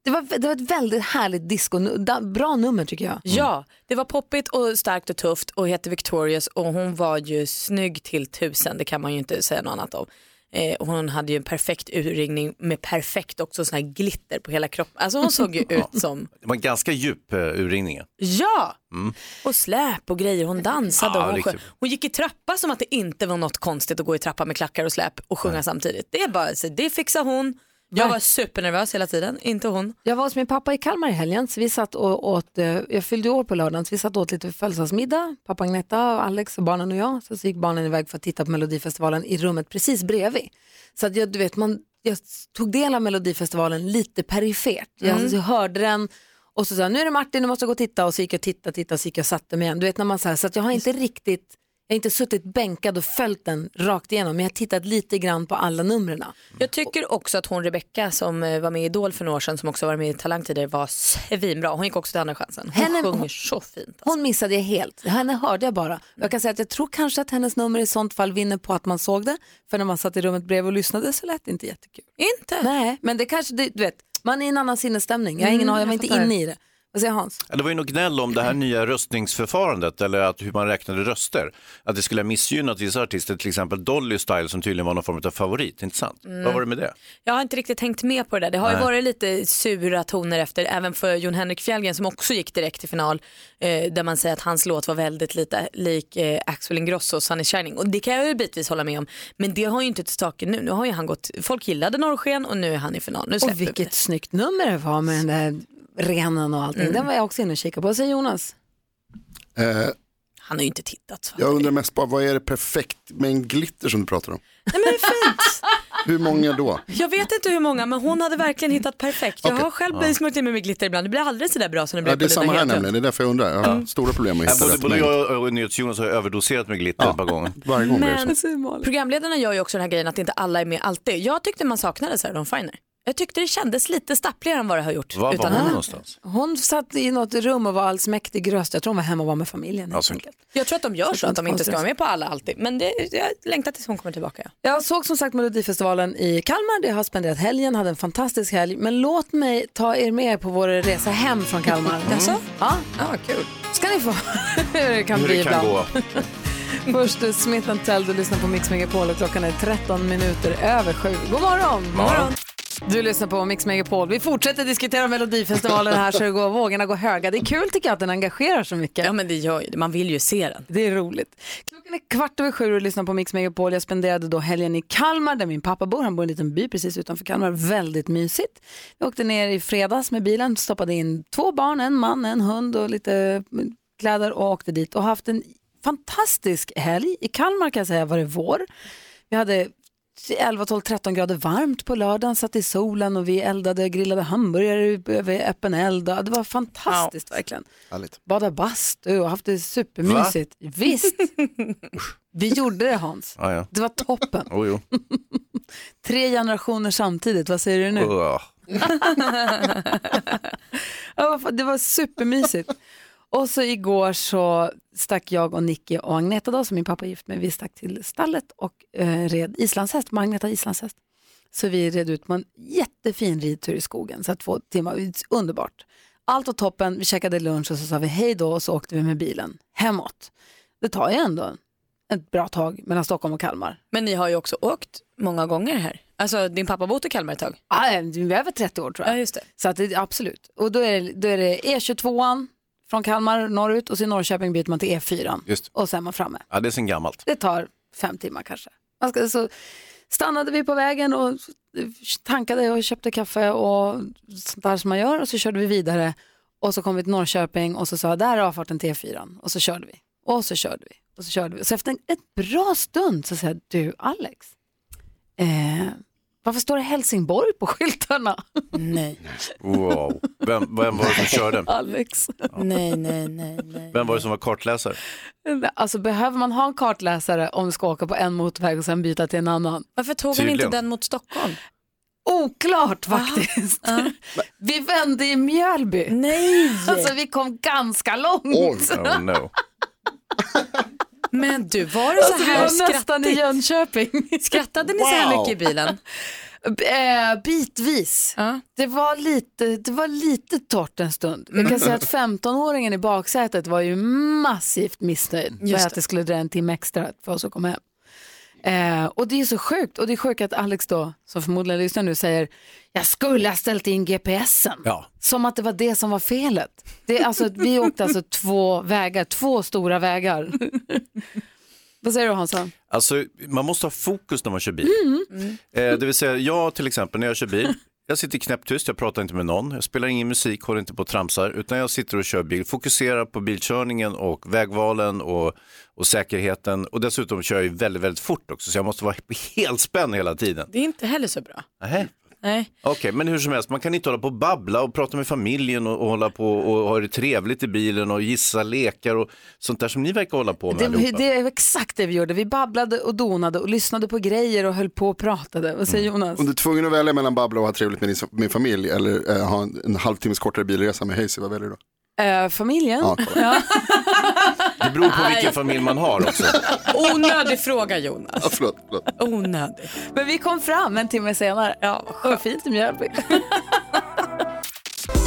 det var, det var ett väldigt härligt disco, da- bra nummer tycker jag. Mm. Ja, det var poppigt och starkt och tufft och heter Victorious och hon var ju snygg till tusen, det kan man ju inte säga något annat om. Eh, och hon hade ju en perfekt urringning med perfekt också sån här glitter på hela kroppen. Alltså hon såg *laughs* ju ut som, Det var en ganska djup eh, urringning. ja! Mm. Och släp och grejer, hon dansade Ja, och hon, sjöng. riktigt. hon gick i trappa som att det inte var något konstigt att gå i trappa med klackar och släp och sjunga samtidigt. Det, är bara, så det fixar hon. Jag var supernervös hela tiden, inte hon. Jag var hos min pappa i Kalmar i helgen, så vi satt och åt, eh, jag fyllde år på lördagen, så vi satt och åt lite födelsedagsmiddag, pappa Agneta, Alex och barnen och jag. Sen så gick barnen iväg för att titta på Melodifestivalen i rummet precis bredvid. Så att jag, du vet, man, jag tog del av Melodifestivalen lite perifert. Jag Mm. så hörde den och så sa jag, nu är det Martin, du måste gå och titta. Och så gick jag och tittade, tittade, så gick jag och satte mig igen. Du vet när man så här, så att jag har inte riktigt, jag har inte suttit bänkad och följt den rakt igenom, men jag har tittat lite grann på alla numren. Jag tycker också att hon Rebecca som eh, var med i Idol för några år sedan som också var med i Talang tidigare var svinbra. Hon gick också till Andra chansen. Hon Henne- sjunger så fint. Hon missade jag helt. Henne hörde jag bara. Jag kan säga att jag tror kanske att hennes nummer i sånt fall vinner på att man såg det. För när man satt i rummet bredvid och lyssnade så lät det inte jättekul. Inte? Nej, men det kanske, det- du vet, man är i en annan sinnesstämning. Jag, har Mm, ingen, aning, jag var jag inte fattar. inne i det. Vad säger Hans? Ja, Det var ju något gnäll om det här nya röstningsförfarandet eller att hur man räknade röster. Att det skulle ha missgynnat vissa artister, till exempel Dolly Style som tydligen var någon form av favorit, inte sant? Mm. Vad var det med det? Jag har inte riktigt hängt med på det där. Det har ju Nej. varit lite sura toner efter, även för Jon Henrik Fjällgren som också gick direkt till final, eh, där man säger att hans låt var väldigt lite lik eh, Axel Ingrossos Sunny Shining. Och det kan jag ju bitvis hålla med om, men det har ju inte till saken nu. Nu har ju han gått, folk gillade Norrsken och nu är han i final. Nu släpper Och vi det. vilket snyggt nummer det var med den där renen och allting. Mm. Den var jag också inne och kikade på. Vad säger Jonas? Han har ju inte tittat. Så. Jag undrar mest bara, vad är det perfekt mängd glitter som du pratar om? Nej men det är fint. *laughs* Hur många då? Jag vet inte hur många men hon hade verkligen hittat perfekt. Jag Okej. har själv Ja. smörjt in mig med glitter ibland. Det blir aldrig sådär bra som det blir Ja, det är på samma Lina här Hedlund. nämligen, det är därför jag undrar. Jag har stora problem med att hitta Både, rätt både mängd. jag och NyhetsJonas har ju överdoserat med glitter ett par gånger. Varje gång Men programledarna gör ju också den här grejen att inte alla är med alltid. Jag tyckte man saknade Sarah Dawn Finer. Jag tyckte det kändes lite stappligare än vad det har gjort. Var var utan hon henne. någonstans? Hon satt i något rum och var allsmäktig röst. Jag tror hon var hemma och var med familjen. Alltså, Jag tror att de gör så, att de inte ska konstigt. vara med på alla alltid. Men det, jag längtar tills hon kommer tillbaka. Ja. Jag såg som sagt Melodifestivalen i Kalmar där jag har spenderat helgen, hade en fantastisk helg. Men låt mig ta er med på vår resa hem från Kalmar. Jaså? Ja. Ja, ah, kul. Ska ni få *laughs* hur det kan hur bli det kan ibland. gå. Först eh, Smith Tell, du lyssnar på Mix Megapol och klockan är 13 minuter över sju. God morgon! God morgon. Du lyssnar på Mix Megapol. Vi fortsätter diskutera Melodifestivalen här så det går, vågorna går höga. Det är kul tycker jag att den engagerar så mycket. Ja men det gör ju Man vill ju se den. Det är roligt. Klockan är kvart över sju och lyssnar på Mix Megapol. Jag spenderade då helgen i Kalmar där min pappa bor. Han bor i en liten by precis utanför Kalmar. Väldigt mysigt. Vi åkte ner i fredags med bilen, stoppade in två barn, en man, en hund och lite mm, kläder och åkte dit och har haft en fantastisk helg. I Kalmar kan jag säga var det vår. Vi hade 11, 12, 13 grader varmt på lördagen, satt i solen och vi eldade, grillade hamburgare över öppen eld. Det var fantastiskt verkligen. Härligt. Bada bastu och haft det supermysigt. Visst, vi gjorde det Hans. Ja, ja. Det var toppen. Oh, *laughs* jo. Tre generationer samtidigt, vad säger du nu? Mm. Ugh. Ja, vad fan, det var supermysigt. Och så igår så stack jag och Nicky och Agneta då, som min pappa är gift med, vi stack till stallet och eh, red islandshäst, Magneta har islandshäst. Så vi red ut på en jättefin ridtur i skogen, så här två timmar, underbart. Allt var toppen, vi käkade lunch och så sa vi hej då och så åkte vi med bilen hemåt. Det tar ju ändå ett bra tag mellan Stockholm och Kalmar. Men ni har ju också åkt många gånger här. Alltså din pappa bott i Kalmar ett tag. Ja, vi är över 30 år tror jag. Ja, just det. Så att det, absolut. Och då är, det, då är det E22 från Kalmar norrut och så i Norrköping byter man till E4 Just. och sen är man framme. Ja, det är sen gammalt. Det tar fem timmar kanske. Man ska, så stannade vi på vägen och tankade och köpte kaffe och sånt där som man gör och så körde vi vidare och så kom vi till Norrköping och så sa jag, där är avfarten till E4 och så körde vi och så körde vi och så körde vi. Så efter en ett bra stund så säger jag, du Alex, eh, varför står det Helsingborg på skyltarna? *laughs* Nej. Wow. Vem, vem var det som körde? Alex. Nej, nej, nej. Vem var det som var *laughs* kartläsare? Alltså behöver man ha en kartläsare om du ska åka på en motorväg och sen byta till en annan? Varför tog han Tydligen. inte den mot Stockholm? Oklart Ah. faktiskt. *laughs* Vi vände i Mjölby. Nej! Alltså vi kom ganska långt. Oh, no. Men du, var det så Alltså, vi här var nästan i skrattigt? Jönköping. Skrattade ni så här mycket i bilen? Eh, bitvis. Det, var lite, det var lite torrt en stund. Jag kan Mm. säga att 15-åringen i baksätet var ju massivt missnöjd Just med att det. det skulle dra en timme extra för oss att komma hem. Eh, och det är så sjukt. Och det är sjukt att Alex då, som förmodligen lyssnar nu, säger jag skulle ha ställt in GPSen. Ja. Som att det var det som var felet. Det är alltså, vi åkte alltså två vägar, två *laughs* stora vägar. Vad säger du Hansa? Alltså, man måste ha fokus när man kör bil. Mm. Eh, det vill säga, jag till exempel när jag kör bil, jag sitter knäpptyst, jag pratar inte med någon, jag spelar ingen musik, håller inte på och tramsar, utan jag sitter och kör bil, fokuserar på bilkörningen och vägvalen och, och säkerheten. Och dessutom kör jag ju väldigt, väldigt fort också, så jag måste vara helt spänd hela tiden. Det är inte heller så bra. Nähä. Nej. Okej, men hur som helst, man kan inte hålla på och babbla och prata med familjen och, och hålla på och ha det trevligt i bilen och gissa lekar och sånt där som ni verkar hålla på med Det, allihopa. det är exakt det vi gjorde. Vi babblade och donade och lyssnade på grejer och höll på och pratade. Vad säger Jonas? Om du är tvungen att välja mellan babbla och ha trevligt med din, min familj eller eh, ha en, en halvtimmes kortare bilresa med Hayes, vad väljer du då? Eh, familjen? Ja, Det beror på vilken familj man har också. Onödig fråga Jonas. Ja, förlåt, förlåt. Onödig. Men vi kom fram en timme senare. Ja, vad fint i Mjölby.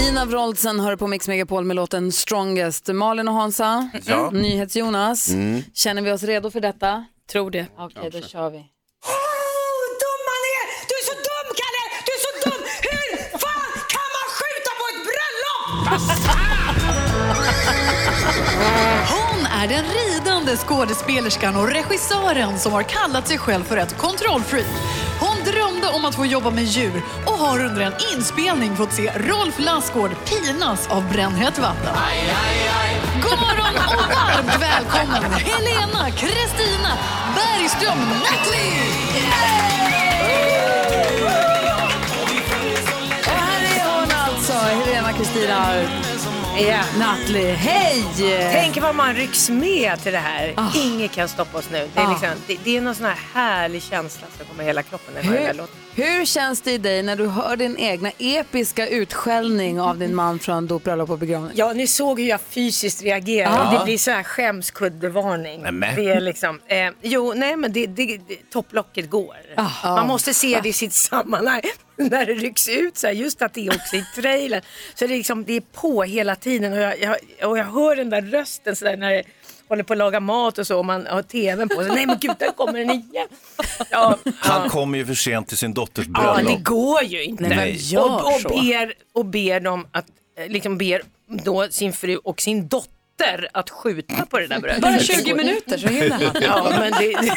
*laughs* Ina Wroldsen hör på Mix Megapol med låten Strongest. Malin och Hansa, Ja. NyhetsJonas. Mm. Känner vi oss redo för detta? Tror det. Okej, då kör vi. dum man Oh, är! Du är så dum, Kalle! Du är så dum! Hur fan kan man skjuta på ett bröllop? Hon är den ridande skådespelerskan och regissören som har kallat sig själv för ett kontrollfreak. Hon drömde om att få jobba med djur och har under en inspelning fått se Rolf Lassgård pinas av brännhett vatten. God morgon och varmt välkommen Helena Kristina Bergström Nattli! Och här är hon alltså, Helena Kristina Ja. Nattli. Hej! Tänk vad man rycks med till det här. Inget kan stoppa oss nu. Det är, Ah. liksom, det, det är någon sån här härlig känsla som kommer i hela kroppen när jag hör den där Hur, låten. hur känns det i dig när du hör din egna episka utskällning av din man från dopbröllop och begravning? Ja, ni såg hur jag fysiskt reagerade. Ja. Det blir så här skämskuddevarning. Nämen. Det är liksom, eh, jo, nej men det, det, det, topplocket går. Man måste se det i sitt sammanhang. *laughs* När det rycks ut så här, just att det är också i trailern. Så det är, liksom, det är på hela tiden och jag, jag, och jag hör den där rösten så där när jag håller på att laga mat och så och man har tvn på sig. Nej men gud, där kommer den igen. Ja, Han kommer ju för sent till sin dotters Ja, bröllop. det går ju inte. Nej, men gör och, och, så. ber, och ber dem att, eh, liksom ber då sin fru och sin dotter att skjuta på det där brödet. Bara 20 minuter så hinner han. ja, men det,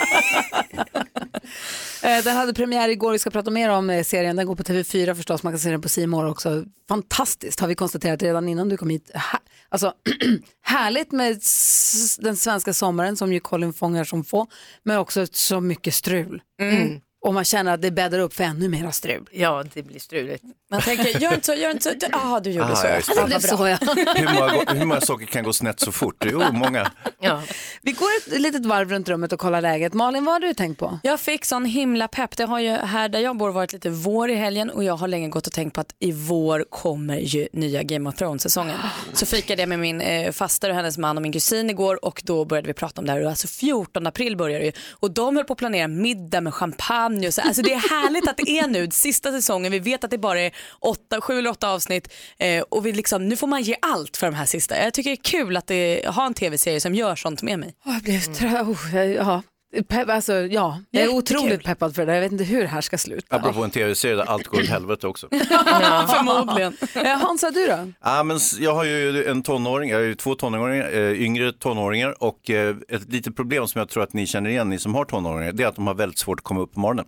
Eh, Den hade premiär igår, vi ska prata mer om eh, serien. Den går på TV4 förstås, man kan se den på C More också. Fantastiskt har vi konstaterat redan innan du kom hit. Ha- alltså, *clears throat* härligt med s- den svenska sommaren som ju Colin fångar som få, men också så mycket strul. Mm. Och man känner att det bäddar upp för ännu mera strul. ja, det blir struligt. Man tänker, gör inte så, gör inte så. Du- Jaha, du gjorde Ah, så. ja, just det. Alltså, Ja, vad bra. Hur många, gå- hur många saker kan gå snett så fort? Jo, många. *laughs* Vi går ett litet varv runt rummet och kollar läget. Malin, vad har du tänkt på? Jag fick sån himla pepp. Det har ju här där jag bor varit lite vår i helgen och jag har länge gått och tänkt på att i vår kommer ju nya Game of Thrones-säsongen. Så fikade jag med min eh, faster och hennes man och min kusin igår och då började vi prata om det här. Och Alltså 14 april börjar det ju och de höll på att planera middag med champagne och så. Alltså det är härligt att det är nu sista säsongen. Vi vet att det bara är åtta, sju eller åtta avsnitt eh, och vi liksom, nu får man ge allt för de här sista. Jag tycker det är kul att det, ha en tv-serie som gör sånt med mig. Åh, jag blev trött. Oh, jag- ja. Pepp, alltså, ja. Jag är Jättekul. otroligt peppad för det där. Jag vet inte hur det här ska sluta. Apropå en tv-serie där allt går åt helvete också. *laughs* Förmodligen. Eh, Hansa, du då? Ja, men s- jag har ju en tonåring, jag har ju två tonåringar, eh, yngre tonåringar och eh, ett litet problem som jag tror att ni känner igen, ni som har tonåringar, det är att de har väldigt svårt att komma upp på morgonen.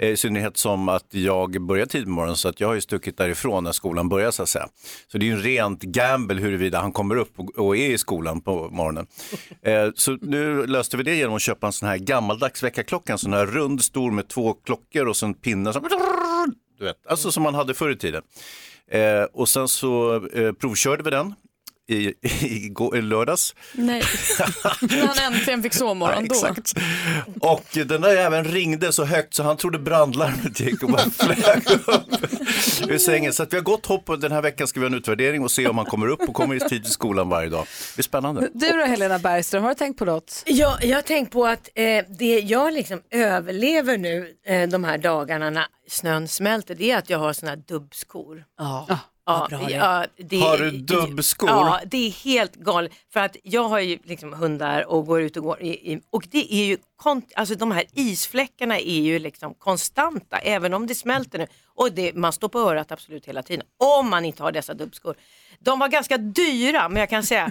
Eh, I synnerhet som att jag börjar tidigt på morgonen så att jag har ju stuckit därifrån när skolan börjar så att säga. Så det är ju en rent gamble huruvida han kommer upp och, och är i skolan på morgonen. Eh, så nu löste vi det genom att köpa en sån här gammaldags väckarklocka, en sån här rund stor med två klockor och så en pinne som du vet, alltså som man hade förr i tiden. Eh, och sen så eh, provkörde vi den i, i, *laughs* går- i lördags. Nej, när han äntligen fick sovmorgon då. Exakt. Och den där även ringde så högt så han trodde brandlarmet gick och bara flög upp ur sängen. Så att vi har gott hopp och den här veckan ska vi ha en utvärdering och se om han kommer upp och kommer i tid till skolan varje dag. Det är spännande. Du då Helena Bergström, har du tänkt på något? Ja, jag har tänkt på att eh, det jag liksom överlever nu eh, de här dagarna när snön smälter, det är att jag har såna här dubbskor. Ja. Ja, bra det är. ja, det är- Har du dubbskor? Ja, det är helt galet. För att jag har ju liksom hundar och går ut och går i, i, och det är ju, kont- alltså de här isfläckarna är ju liksom konstanta även om det smälter nu. Och det, man står på örat absolut hela tiden om man inte har dessa dubbskor. De var ganska dyra men jag *laughs* kan säga,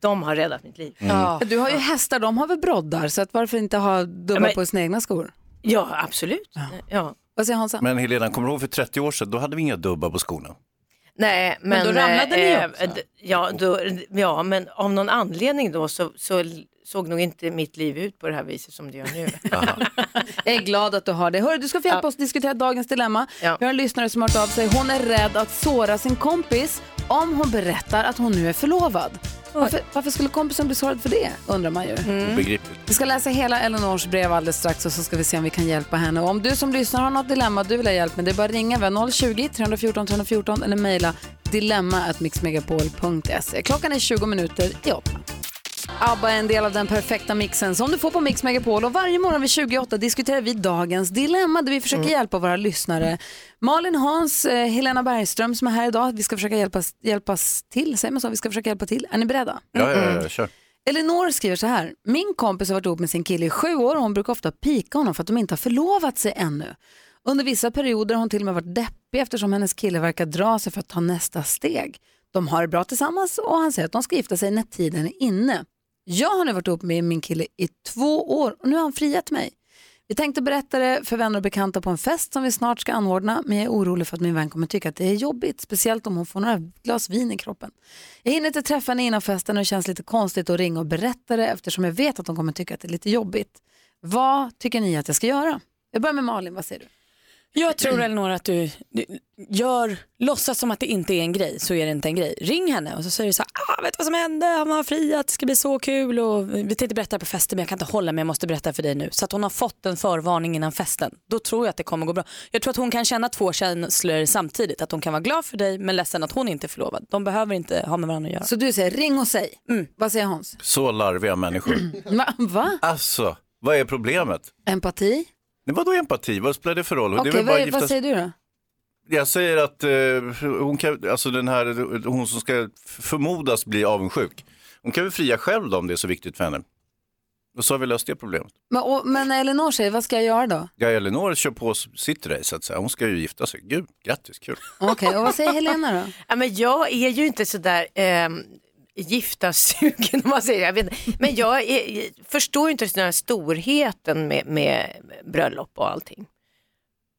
de har räddat mitt liv. Ja. Du har ju hästar, de har väl broddar, så att varför inte ha dubbar Ja, men- på sina egna skor? Ja, absolut. Ja. Vad säger Hansa? Men Helena, kommer du ihåg för 30 år sedan, då hade vi inga dubbar på skorna. Nej, men, Men då ramlade ni eh, också. eh, d- ja, då, ja, men av någon anledning då så, så l- såg nog inte mitt liv ut på det här viset som det gör nu. *laughs* Jag är glad att du har det. Hörru, du ska få hjälpa oss diskutera dagens dilemma. Vi har en lyssnare som har hört av sig. Hon är rädd att såra sin kompis om hon berättar att hon nu är förlovad. Varför, varför skulle kompisen bli sårad för det, undrar man ju. Obegripligt. Vi ska läsa hela Elinors brev alldeles strax och så ska vi se om vi kan hjälpa henne. Och om du som lyssnar har något dilemma du vill ha hjälp med, det är bara att ringa. Vi har 020-314 314 eller mejla dilemma.mixmegapol.se. Klockan är 20 minuter i åtta. ABBA är en del av den perfekta mixen som du får på Mix Megapol och varje morgon vid 28 diskuterar vi dagens dilemma där vi försöker hjälpa våra lyssnare. Malin, Hans, eh, Helena Bergström som är här idag, vi ska försöka hjälpas, hjälpas till, säger man så? Vi ska försöka hjälpa till. Är ni beredda? Ja, ja, ja, ja, kör. Elinor skriver så här. Min kompis har varit ihop med sin kille i sju år och hon brukar ofta pika honom för att de inte har förlovat sig ännu. Under vissa perioder har hon till och med varit deppig eftersom hennes kille verkar dra sig för att ta nästa steg. De har det bra tillsammans och han säger att de ska gifta sig när tiden är inne. Jag har nu varit ihop med min kille i två år och nu har han friat mig. Vi tänkte berätta det för vänner och bekanta på en fest som vi snart ska anordna men jag är orolig för att min vän kommer tycka att det är jobbigt, speciellt om hon får några glas vin i kroppen. Jag hinner inte träffa henne innan festen och det känns lite konstigt att ringa och berätta det eftersom jag vet att hon kommer tycka att det är lite jobbigt. Vad tycker ni att jag ska göra? Jag börjar med Malin, vad säger du? Jag tror Elinor att du, du gör, låtsas som att det inte är en grej så är det inte en grej. Ring henne och så säger du så här, ah, vet du vad som hände, han har friat, det ska bli så kul och vi tänkte berätta på festen men jag kan inte hålla mig, jag måste berätta för dig nu. Så att hon har fått en förvarning innan festen, då tror jag att det kommer gå bra. Jag tror att hon kan känna två känslor samtidigt, att hon kan vara glad för dig men ledsen att hon inte är förlovad. De behöver inte ha med varandra att göra. Så du säger ring och säg, Mm. vad säger Hans? Så larviga människor. Va? Va? Alltså, vad är problemet? Empati? Nej, vadå empati? Vad spelar det för roll? Det är Okej, väl bara vad, gifta vad sig- säger du då? Jag säger att eh, hon, kan, alltså den här, hon som ska förmodas bli avundsjuk, hon kan väl fria själv då om det är så viktigt för henne. Och så har vi löst det problemet. Men, och, men Elinor säger, vad ska jag göra då? Ja, Elinor kör på sitt race, så att säga. hon ska ju gifta sig. Gud, grattis, kul. Okej, och vad säger Helena då? ja, men jag är ju inte sådär eh, giftassugen *laughs* om man säger jag vet inte. Men jag är, förstår ju inte den här storheten med, med bröllop och allting.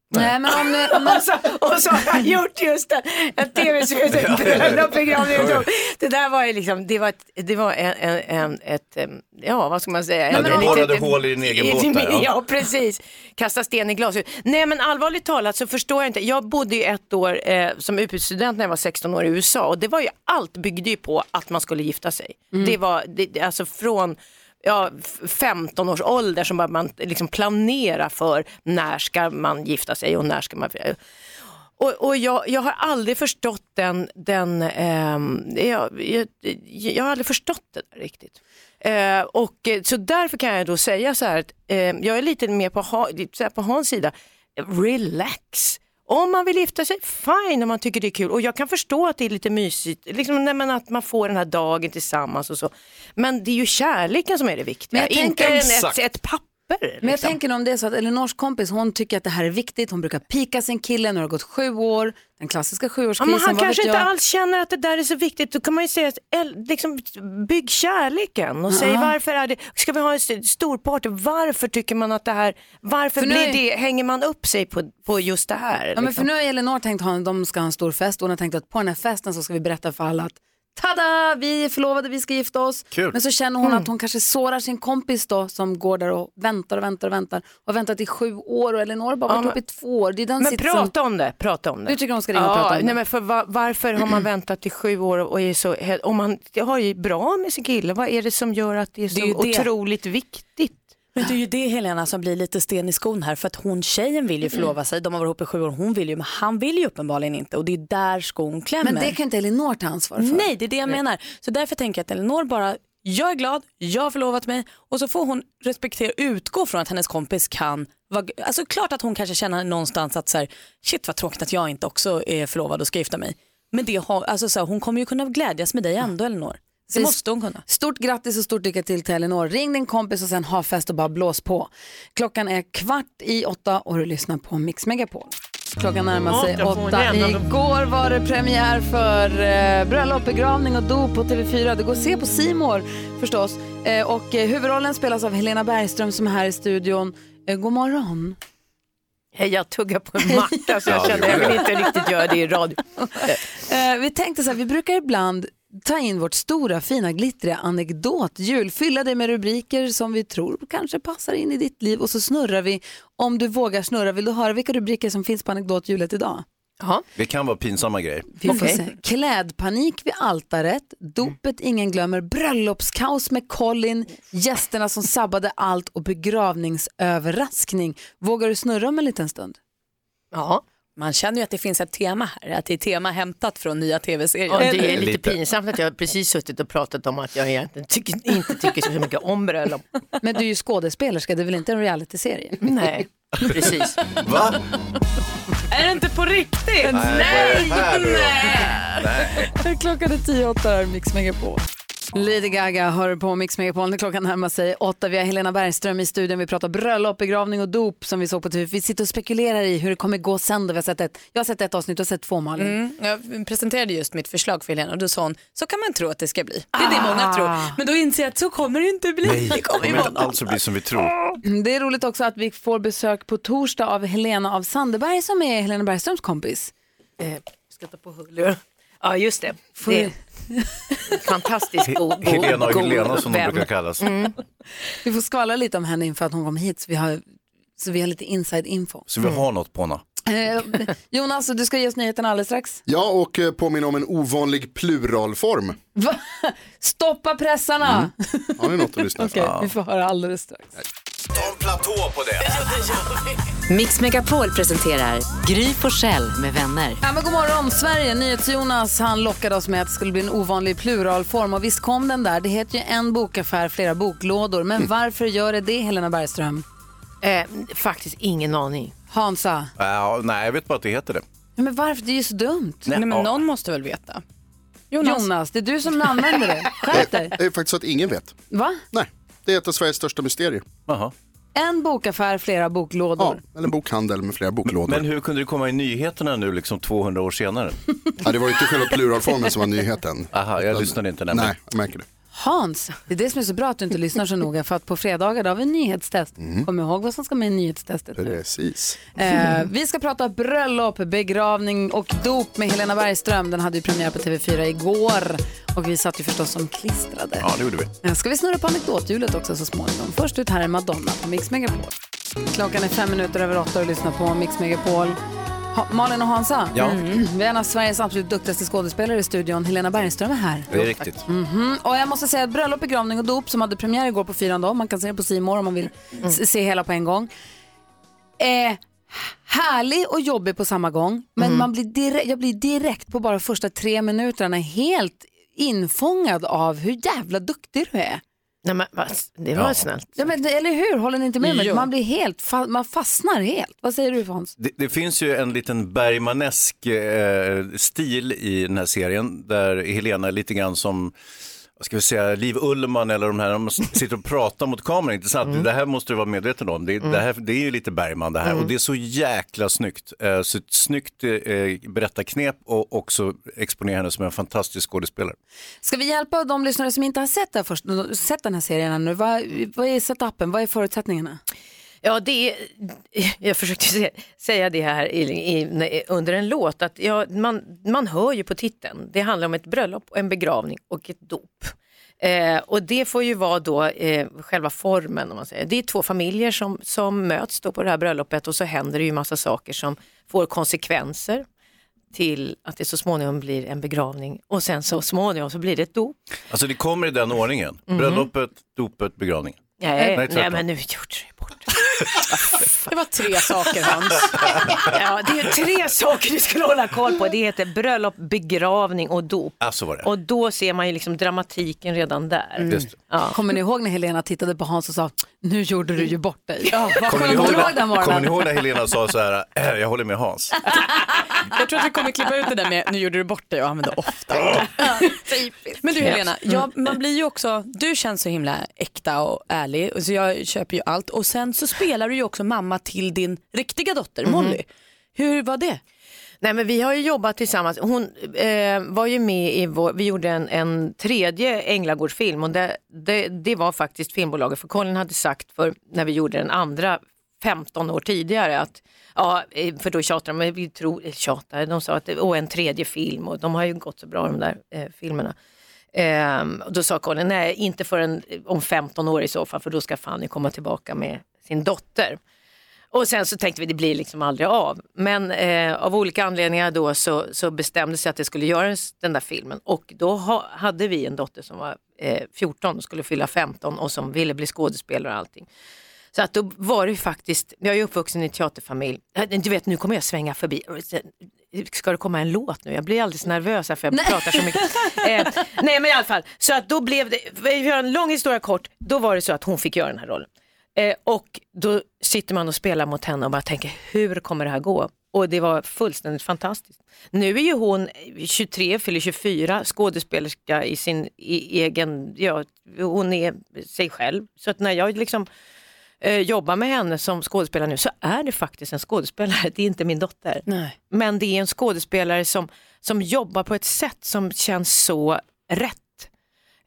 Nej, men om nu... *laughs* Om man... och så har jag gjort just det, en tv-serie, bröllop, begravning och dop. Det där var ju liksom, det var ett, det var en, en, en, ett em, ja vad ska man säga? Ja, En- du en borrade litet- hål i din *laughs* egen båt där, ja. Ja. precis, kasta sten i glashus. Nej men allvarligt talat så förstår jag inte, jag bodde ju ett år eh, som utbytesstudent när jag var 16 år i USA och det var ju, allt byggde ju på att man skulle gifta sig. Mm. Det var, det, det- alltså från Ja, f- 15 års ålder som bara man liksom planera för när ska man gifta sig och när ska man och, och jag, jag har aldrig förstått den, den ehm, jag, jag, jag har aldrig förstått det där riktigt. Eh, och, eh, så därför kan jag då säga så här, att, eh, jag är lite mer på, ha, så här på Hans sida, relax. Om man vill gifta sig, fine om man tycker det är kul. Och jag kan förstå att det är lite mysigt, liksom, nej, men att man får den här dagen tillsammans och så. Men det är ju kärleken som är det viktiga, Men jag inte tänker- en, ett, Exakt. ett papper. Men jag liksom. tänker om det är så att Elinors kompis, hon tycker att det här är viktigt, hon brukar pika sin kille, nu har det gått sju år, den klassiska Ja, men sjuårskrisen, han vad kanske vet inte jag? alls känner att det där är så viktigt. Då kan man ju säga, att, äl- liksom, bygg kärleken och säg Ja. varför är det, ska vi ha en s- stor party, varför tycker man att det här, varför För nu blir är- det, hänger man upp sig på, på just det här? Ja, men för liksom? nu har Elinor tänkt att de ska ha en stor fest och hon har tänkt att på den här festen så ska vi berätta för alla att tada, vi är förlovade, vi ska gifta oss. Kul. Men så känner hon Mm. att hon kanske sårar sin kompis då som går där och väntar och väntar och väntar och har väntat i sju år och Elinor har bara Ja, varit men- ihop i två år. Det är den Men sitsen. prata om det, prata om det. Du tycker hon ska ringa och ja, prata om det? nej, Men för va- varför har *clears throat* man väntat i sju år och är så, he- om man har ju bra med sin kille, vad är det som gör att det är så Det är ju det. otroligt viktigt? Men det är ju det Helena som blir lite sten i skon här för att hon tjejen vill ju förlova sig, de har varit ihop i sju år, hon vill ju men han vill ju uppenbarligen inte och det är där skon klämmer. Men det kan inte Elinor ta ansvar för. Nej, det är det jag menar. Så därför tänker jag att Elinor bara jag är glad, jag har förlovat mig och så får hon respektera utgå från att hennes kompis kan vara, alltså klart att hon kanske känner någonstans att så här, shit vad tråkigt att jag inte också är förlovad och ska gifta mig. Men det har, alltså så här, hon kommer ju kunna glädjas med dig ändå Elinor. Det måste hon kunna. Stort grattis och stort lycka till till Elinor. Ring din kompis och sen ha fest och bara blås på. Klockan är kvart i åtta och du lyssnar på Mix Megapol. Klockan närmar sig Ja, jag får åtta. en jävla- Igår var det premiär för eh, bröllop, begravning och dop på TV4. Det går att se på Simor förstås. Eh, och eh, huvudrollen spelas av Helena Bergström som är här i studion. Eh, god morgon. Hej, jag tuggar på *laughs* en matta så jag Ja, kände det jag gjorde vill jag. inte riktigt göra det i radio. Eh, vi tänkte så här, vi brukar ibland ta in vårt stora fina glittriga anekdothjul, fylla det med rubriker som vi tror kanske passar in i ditt liv och så snurrar vi. Om du vågar snurra, vill du höra vilka rubriker som finns på anekdothjulet idag? Det kan vara pinsamma grejer. Vi får se. Klädpanik vid altaret, dopet ingen glömmer, bröllopskaos med Colin, gästerna som sabbade allt och begravningsöverraskning. Vågar du snurra om en liten stund? Ja. Man känner ju att det finns ett tema här, att det är tema hämtat från nya tv-serier. Ja, det är lite, pinsamt att jag precis suttit och pratat om att jag egentligen tycker, inte tycker så mycket om bröllop. Men du är ju skådespelerska, det är väl inte en realityserie? Nej, precis. Va? Är det inte på riktigt? Nej, vad är det här nu då? Klockan är tio åtta här, Mix Megapol. Lady Gaga hör på Mix Megapol när klockan närmar sig åtta. Vi har Helena Bergström i studion. Vi pratar bröllop, begravning och dop som vi såg på TV. Vi sitter och spekulerar i hur det kommer gå sen. Då. Vi har sett ett, jag har sett ett avsnitt, du har sett två Malin. Mm, jag presenterade just mitt förslag för Helena och då sa hon, så kan man tro att det ska bli. Det är Ah. det många tror. Men då inser jag att så kommer det inte bli. Nej, det det kommer ju kommer vara inte alls att bli som vi tror. Mm. Det är roligt också att vi får besök på torsdag av Helena av Sandeberg som är Helena Bergströms kompis. Eh, ska ta på hullor. Ja, just det. Får det är fantastiskt god, god, Helena och god Helena som de vän. brukar kallas. Mm. Vi får skvallra lite om henne inför att hon kom hit så vi har, så vi har lite inside info. Så vi har något på henne. Eh, Jonas, du ska ge oss nyheten alldeles strax. Ja, och eh, påminna om en ovanlig pluralform. Va? Stoppa pressarna! Mm. Har ni något att lyssna *laughs* Okej, vi får höra alldeles strax. Ta en platå på det. Mix Megapol presenterar Gry Forssell med vänner. Ja, men god morgon Sverige! NyhetsJonas han lockade oss med att det skulle bli en ovanlig pluralform och visst kom den där. Det heter ju en bokaffär, flera boklådor. Men Mm. varför gör det det Helena Bergström? Eh, faktiskt ingen aning. Hansa? Ja, nej, jag vet bara att det heter det. Ja, men varför? Det är ju så dumt. Nej, Nej, men ja. någon måste väl veta. Jonas. det är du som använder det. *laughs* Skärp dig. Det är faktiskt så att ingen vet. Va? Nej, det är ett av Sveriges största mysterier. En bokaffär, flera boklådor. Eller en bokhandel med flera boklådor. Men hur kunde det komma i nyheterna nu, liksom 200 år senare? Ja, det var ju inte själva pluralformen som var nyheten. Aha, jag lyssnade inte nämligen. Nej, jag märker det. Hans, det är det som är så bra att du inte lyssnar så noga för att på fredagar då har vi en nyhetstest. Mm. Kom ihåg vad som ska med i nyhetstestet. Precis. Eh, vi ska prata bröllop, begravning och dop med Helena Bergström. Den hade ju premiär på TV4 igår och vi satt ju förstås som klistrade. Ja, det gjorde vi. Eh, Ska vi snurra på anekdothjulet också så småningom. Först ut här är Madonna på Mix Megapol. Klockan är fem minuter över åtta och du lyssnar på Mix Megapol. Ha Malin och Hansa, Mm. Ja. vi har en av Sveriges absolut duktigaste skådespelare i studion. Helena Bergström är här. Det är riktigt. Mhm. Och jag måste säga att bröllop, begravning och dop som hade premiär igår på fyran dag, man kan se det på Simor om man vill s- se hela på en gång, är härlig och jobbig på samma gång. Men man blir direkt, jag blir direkt på bara första tre minuterna helt infångad av hur jävla duktig du är. Nej, men, vad- det var snällt. Ja, men, eller hur, håller ni inte med mig? Jo. Man blir helt, fa- man fastnar helt. Vad säger du Hans? Det, det finns ju en liten Bergmanesk eh, stil i den här serien där Helena är lite grann som vad ska vi säga, Liv Ullman eller de här, de sitter och pratar mot kameran, inte sant? Det här måste du vara medveten om. Det, det, här, det är ju lite Bergman det här och det är så jäkla snyggt. Eh, Så ett snyggt eh, berättarknep och också exponera henne som en fantastisk skådespelare. Ska vi hjälpa de lyssnare som inte har sett, det här först, sett den här serien ännu? Vad, vad är setupen, vad är förutsättningarna? Ja, det är, Eh, jag försökte se, säga det här i, i, under en låt, att ja, man, man hör ju på titeln, det handlar om ett bröllop, och en begravning och ett dop. Eh, och det får ju vara då eh, själva formen. Om man säger. Det är två familjer som, som möts då på det här bröllopet och så händer det ju massa saker som får konsekvenser till att det så småningom blir en begravning och sen så småningom så blir det ett dop. Alltså det kommer i den ordningen, Mhm. bröllopet, dopet, begravningen. Nej, nej, tvärtom. men nu gjorde du bort det. Det var tre saker Hans. ja, det är *laughs* tre saker du skulle hålla koll på. Det heter bröllop, begravning och dop. Ja, så var det. Och då ser man ju liksom dramatiken redan där. Mm. Just det. Ja. Kommer ni ihåg när Helena tittade på Hans och sa, nu gjorde du ju bort dig. Ja, vad Kommer ni, skönt att ihåg du låg den när, morgonen. kommer ni ihåg när Helena sa så här, "Äh, jag håller med Hans? Jag tror att vi kommer klippa ut det där med nu gjorde du bort dig och använde ofta. *laughs* Men du Helena, jag, Mm. man blir ju också, du känns så himla äkta och ärlig och så jag köper ju allt och sen så spelar du ju också mamma till din riktiga dotter Mhm. Molly. Hur var det? Nej men vi har ju jobbat tillsammans. Hon eh, var ju med i vår, vi gjorde en, en tredje Änglagårdsfilm och det, det, det var faktiskt filmbolaget för Colin hade sagt för när vi gjorde den andra 15 år tidigare att Ja, eh, för då tjatade de, men vi tror, eh, tjatade, de sa att åh en tredje film och de har ju gått så bra de där eh, filmerna. Ehm, och då sa Colin, nej inte förrän eh, om 15 år i så fall för då ska Fanny komma tillbaka med sin dotter. Och sen så tänkte vi det blir liksom aldrig av. Men eh, av olika anledningar då så, så bestämde sig att det skulle göras den där filmen. Och då ha, hade vi en dotter som var eh, 14 och skulle fylla 15 och som ville bli skådespelare och allting. Så att då var det ju faktiskt, jag är ju uppvuxen i en teaterfamilj, Eh, du vet nu kommer jag svänga förbi, ska det komma en låt nu? Jag blir alldeles nervös här för jag pratar så mycket. Eh, nej men i alla fall, så att då blev det, vi gör en lång historia kort, då var det så att hon fick göra den här rollen. Eh, och då sitter man och spelar mot henne och bara tänker hur kommer det här gå? Och det var fullständigt fantastiskt. Nu är ju hon 23, fyller 24, skådespelerska i sin i, egen, ja hon är sig själv. Så att när jag liksom eh, jobbar med henne som skådespelare nu så är det faktiskt en skådespelare, det är inte min dotter. Nej. Men det är en skådespelare som, som jobbar på ett sätt som känns så rätt.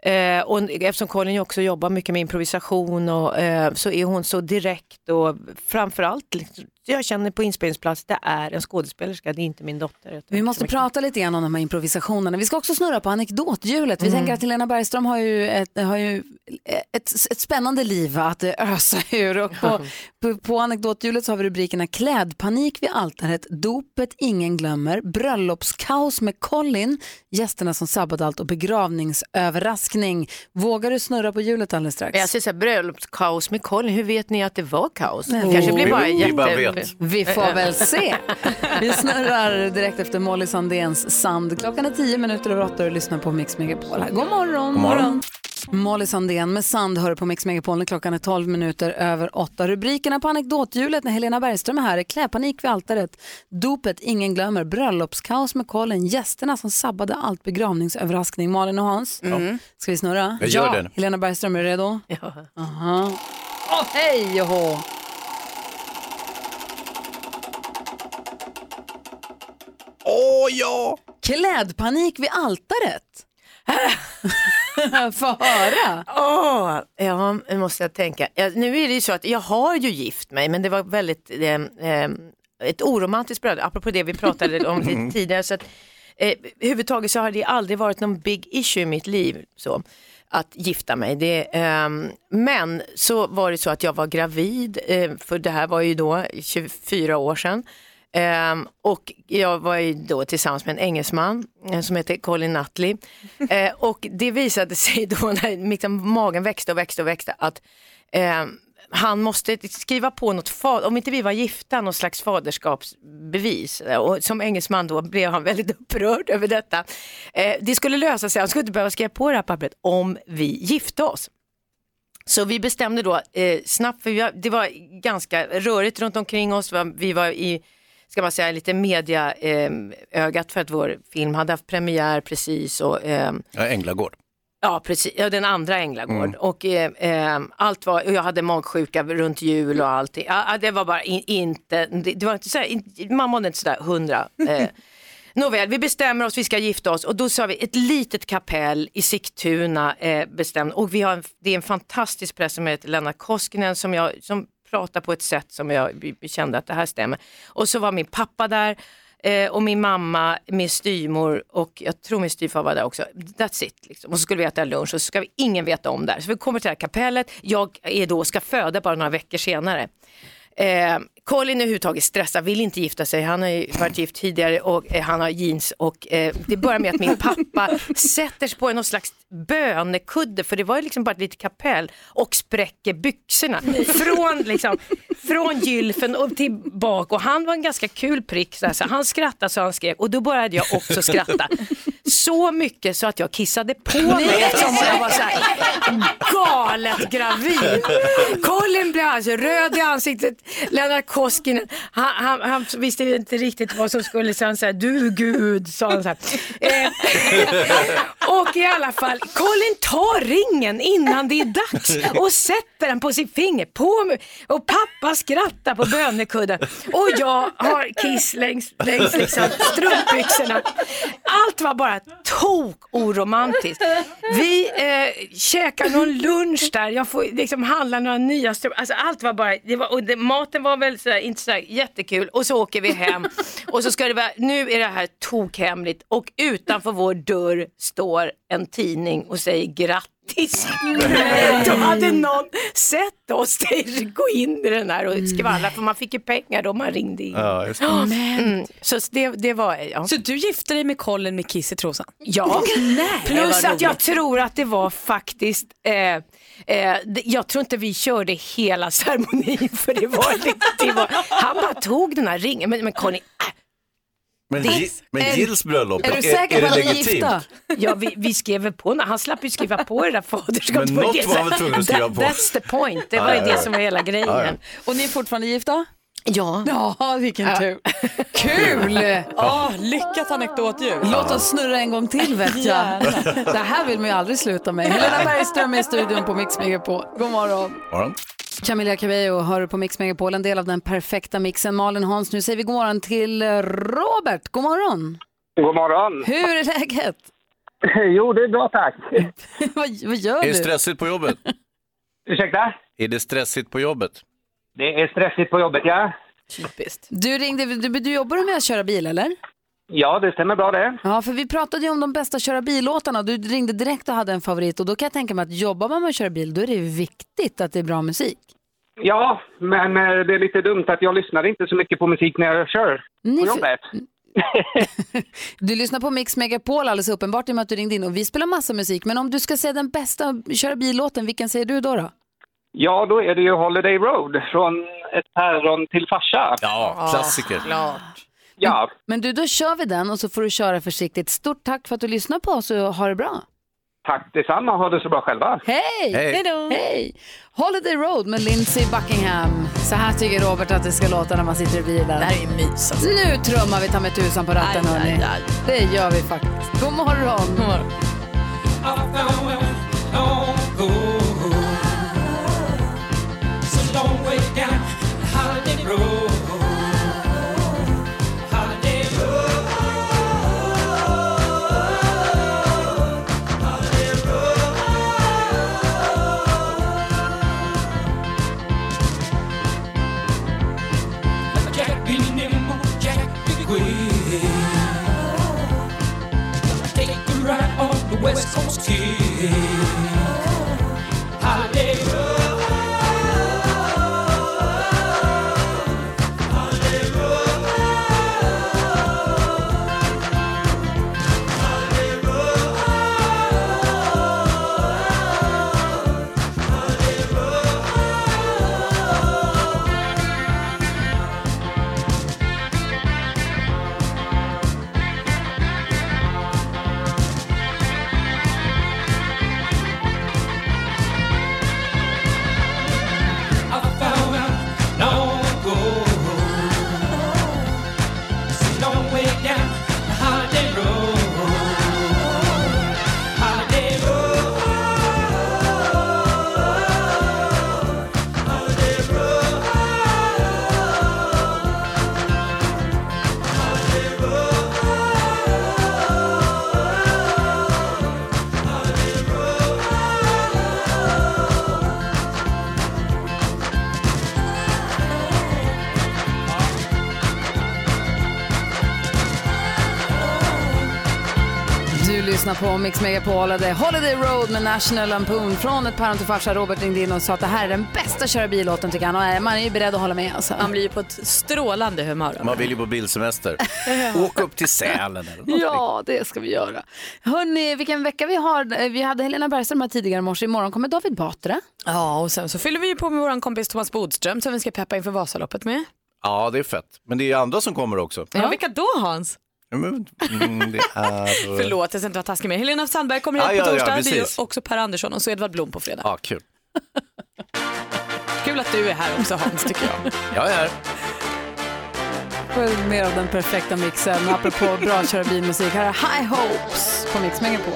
Eh, och eftersom Colin ju också jobbar mycket med improvisation och, eh, så är hon så direkt och framförallt, liksom, jag känner på inspelningsplats, det är en skådespelerska, det är inte min dotter. Jag Vi måste prata lite grann om de här improvisationerna. Vi ska också snurra på anekdothjulet. Vi Mm. tänker att Helena Bergström har ju ett, har ju ett, ett spännande liv att ösa ur. Och på, på, på anekdothjulet så har vi rubrikerna klädpanik vid altaret, dopet ingen glömmer, bröllopskaos med Colin, gästerna som sabbade allt och begravningsöverraskning. Vågar du snurra på hjulet alldeles strax? Jag säger så här, bröllopskaos med Colin, hur vet ni att det var kaos? Nej. Det kanske blir bara jätte... Vi får väl se. Vi snurrar direkt efter Molly Sandéns Sand. Klockan är tio minuter över åtta och du lyssnar på Mix Megapol. God morgon. God morgon. Mm. Molly Sandén med Sand hör på Mix Megapol när klockan är 12 minuter över åtta. Rubrikerna på anekdothjulet när Helena Bergström är här är kläpanik vid altaret, dopet ingen glömmer, bröllopskaos med Colin, gästerna som sabbade allt, begravningsöverraskning. Malin och Hans, Mm. ska vi snurra? Jag gör ja. det. Helena Bergström, är du redo? Ja. Aha. Åh, hej och hå. Åh ja! Klädpanik vid altaret. *laughs* Få höra. Åh, ja, nu måste jag tänka. Ja, nu är det ju så att jag har ju gift mig, men det var väldigt eh, eh, ett oromantiskt bröllop, apropå det vi pratade om lite Mm. tidigare. Så att, eh, överhuvudtaget så har det aldrig varit någon big issue i mitt liv. Så. att gifta mig. Det, ehm, men så var det så att jag var gravid, eh, för det här var ju då 24 år sedan. Ehm, och jag var ju då tillsammans med en engelsman eh, som heter Colin Nutley. Eh, och det visade sig då när liksom magen växte och växte och växte att ehm, han måste skriva på något, fa- om inte vi var gifta, något slags faderskapsbevis. Och som engelsman då blev han väldigt *laughs* upprörd över detta. Eh, det skulle lösa sig, han skulle inte behöva skriva på det här pappret om vi gifte oss. Så vi bestämde då eh, snabbt, för vi var, det var ganska rörigt runt omkring oss. Vi var- Vi var i, ska man säga, lite mediaögat eh, ögat för att vår film hade haft premiär precis. Och, ehm, Ja, Änglagård. Ja, precis. Ja, den andra Änglagård. *laughs* Mm. Och, eh, eh, allt var, och jag hade magsjuka runt jul och allting. Ja, ja, det var bara in, inte, det, det var inte så här, in, man mådde inte sådär hundra. Eh. Nåväl, vi bestämmer oss, vi ska gifta oss och då sa vi ett litet kapell i Sigtuna eh, bestämde, och vi har en, det är en fantastisk präst som heter Lennart Koskinen som, jag, som pratar på ett sätt som jag kände att det här stämmer. Och så var min pappa där eh, och min mamma, min styrmor och jag tror min styvfar var där också. That's it. Liksom. Och så skulle vi äta lunch och så ska vi ingen veta om det här. Så vi kommer till det här kapellet, jag är då, ska föda bara några veckor senare. Eh, Colin är överhuvudtaget stressad, vill inte gifta sig. Han har ju varit gift tidigare och eh, han har jeans. Och, eh, det börjar med att min pappa sätter sig på någon slags bönekudde, för det var ju liksom bara ett litet kapell, och spräcker byxorna. Från, liksom, från gylfen och tillbaka och han var en ganska kul prick. Så, här, så han skrattade så han skrek och då började jag också skratta. Så mycket så att jag kissade på mig eftersom jag var så här galet gravid. Colin blev alltså röd i ansiktet. Lennart Koskinen, han, han, han visste ju inte riktigt vad som skulle så han sa du gud, sa han så här. Eh, och i alla fall, Colin tar ringen innan det är dags och sätter den på sitt finger på mig. Och pappa skrattar på bönekudden och jag har kiss längs, längs liksom strumpbyxorna. Allt var bara tok oromantiskt. Vi eh, käkar någon lunch där, jag får liksom handla några nya strumpor. Alltså allt var bara, det var, och det, maten var väl så här, inte så här jättekul och så åker vi hem och så ska det vara, nu är det här tokhemligt och utanför vår dörr står en tidning och säger grattis. Då hade någon sett oss gå in i den här och skvallra för man fick ju pengar då man ringde in. Ja, just det. Mm. Så det, det var ja. Så du gifte dig med Colin med kiss i trosan? Ja, Det plus var att jag roligt. tror att det var faktiskt, eh, eh, det- jag tror inte vi körde hela ceremonin för det var, det, det var han bara tog den här ringen, men, men Conny, äh, Men, Det- Gi- men Gills bröllop, är du säker är på det att ni är legitimt? gifta? Ja, vi, vi skrev väl på, han slapp ju skriva på det där faderskapet. Men något var han väl tvungen att skriva på. That's the point, det var Ja, ju ja, det ja. som var hela grejen. Ja, ja. Och ni är fortfarande gifta? Ja. Ja, vilken *laughs* tur. Kul! Ja. Ja, lyckat anekdot ju. Låt oss snurra en gång till vet jag. Det här vill man ju aldrig sluta med. Helena Bergström är i studion på Mix Megapol. God morgon. Morgon. Camilla Cabello hör på Mix Megapol, en del av den perfekta mixen. Malin Hans, nu säger vi god morgon till eh, Robert. God morgon. God morgon! Hur är läget? *laughs* *laughs* Jo, det är bra tack. vad, vad gör Är det du? stressigt på jobbet? Ursäkta? Är det stressigt på jobbet? Det är stressigt på jobbet, ja. Du ringde, du, du jobbar med att köra bil eller? Ja, det stämmer bra det. Ja, för vi pratade ju om de bästa köra bil-låtarna. Du ringde direkt och hade en favorit och då kan jag tänka mig att jobbar man med att köra bil då är det viktigt att det är bra musik. Ja, men eh, det är lite dumt att jag lyssnar inte så mycket på musik när jag kör Ni på för- jobbet. *laughs* Du lyssnar på Mix Megapol alldeles uppenbart i och med att du ringde in och vi spelar massa musik. Men om du ska säga den bästa köra bil-låten, vilken säger du då? då? Ja, då är det ju Holiday Road från ett päron till farsa. Ja, klassiker. klart. Ja, Men du, då kör vi den och så får du köra försiktigt. Stort tack för att du lyssnar på oss och ha det bra. tack detsamma. Ha det så bra själva. Hej! Hej. Hej Hej! Holiday Road med Lindsey Buckingham. Så här tycker Robert att det ska låta när man sitter i bilen. Det här är mys. Nu trummar vi ta med tusan på ratten, Aj, aj, hörni. aj. Det gör vi faktiskt. God morgon! God morgon. Jack be nimble, Jack be quick. Take a ride on the West Coast Kick. Holiday Road. Holiday Road. Holiday Road. Holiday Road. Du lyssnar på Mix Megapol och det är Holiday Road med National Lampoon från ett päron till farsa. Robert ringde in och sa att det här är den bästa köra bil-låten tycker han. Och eh, man är ju beredd att hålla med alltså. Han blir ju på ett strålande humör. Man vill ju på bilsemester. Åk upp till Sälen eller något. Ja, det ska vi göra. Hörni, vilken vecka vi har. Vi hade Helena Bergström här tidigare i morse. Imorgon kommer David Batra. Ja, och sen så fyller vi ju på med vår kompis Thomas Bodström som vi ska peppa inför Vasaloppet med. Ja, det är fett. Men det är andra som kommer också. Ja, vilka då Hans? Mm, mm, det är... *laughs* Förlåt, jag ska inte vara taskig med Helena Sandberg kommer hit Ja, på ja, ja, torsdag. det är ju precis. också Per Andersson och så Edvard Blom på fredag. Ja, kul. Kul att du är här också Hans, tycker jag. Jag är här. För mer av den perfekta mixen. *laughs* Apropå bra köra bilmusik. Här är High Hopes på Mix Megapol.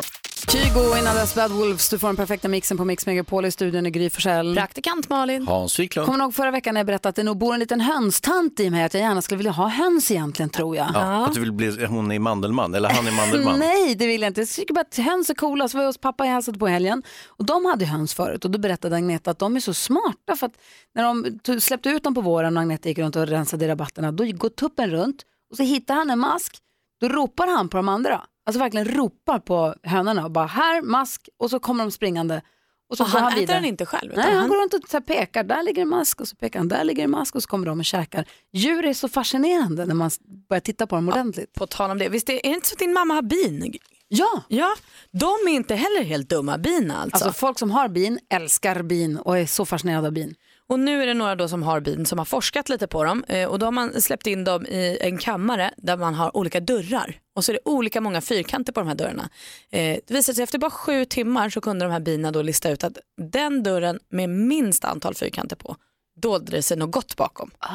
Kygo innan dess Bad Wolves. Du får den perfekta mixen på Mix Megapol i studion i Gry Forssell. Praktikant Malin. Hans Wiklund. Kommer ni ihåg förra veckan när jag berättade att det nog bor en liten hönstant i mig, att jag gärna skulle vilja ha höns egentligen tror jag. Ja, att du vill bli, hon är mandelman, eller han är mandelman. *laughs* Nej, det vill jag inte. Jag tycker bara att höns är coola. Så var jag hos pappa och hälsade på i helgen och de hade höns förut och då berättade Agneta att de är så smarta för att när de to- släppte ut dem på våren och Agneta gick runt och rensade i rabatterna, då går tuppen runt och så hittar han en mask, då ropar han på de andra. Alltså verkligen ropar på hönorna och bara här, mask och så kommer de springande. Och så Och går han han äter vidare. den inte själv, utan Nej, han han- går runt och så här pekar, där ligger en mask och så pekar han, där ligger en mask och så kommer de och käkar. Djur är så fascinerande när man s- börjar titta på dem ordentligt. På tal om det, visst är är det inte så att din mamma har bin? Ja. ja. De är inte heller helt dumma, bin alltså. Alltså folk som har bin älskar bin och är så fascinerade av bin. Och nu är det några då som har bin som har forskat lite på dem eh, och då har man släppt in dem i en kammare där man har olika dörrar och så är det olika många fyrkanter på de här dörrarna. Eh, det visade sig efter bara sju timmar så kunde de här bina då lista ut att den dörren med minst antal fyrkanter på dolde det sig något gott bakom. Ah.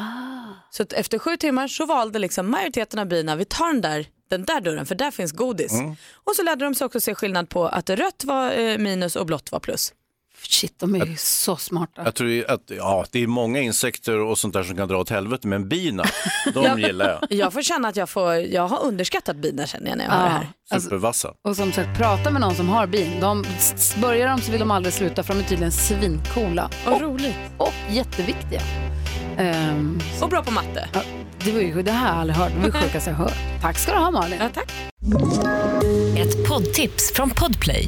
Så att efter sju timmar så valde liksom majoriteten av bina, vi tar den där, den där dörren för där finns godis. Mm. Och så lärde de sig också se skillnad på att rött var eh, minus och blått var plus. Shit, de är ju så smarta. Jag tror ju att ja, det är många insekter och sånt där som kan dra åt helvete, men bina, de gillar jag. Jag får känna att jag, får, jag har underskattat binar känner jag när jag hör det här. Supervassa. Alltså, Och som sagt, prata med någon som har bin. De s- s- börjar de så vill de aldrig sluta för de är tydligen svincoola. Vad roligt. Och jätteviktiga. Ehm, Och bra på matte. ja, det, var ju, det här har jag aldrig hört, det var det sjukaste jag hört. Tack ska du ha Malin. tack. Ett poddtips från Podplay.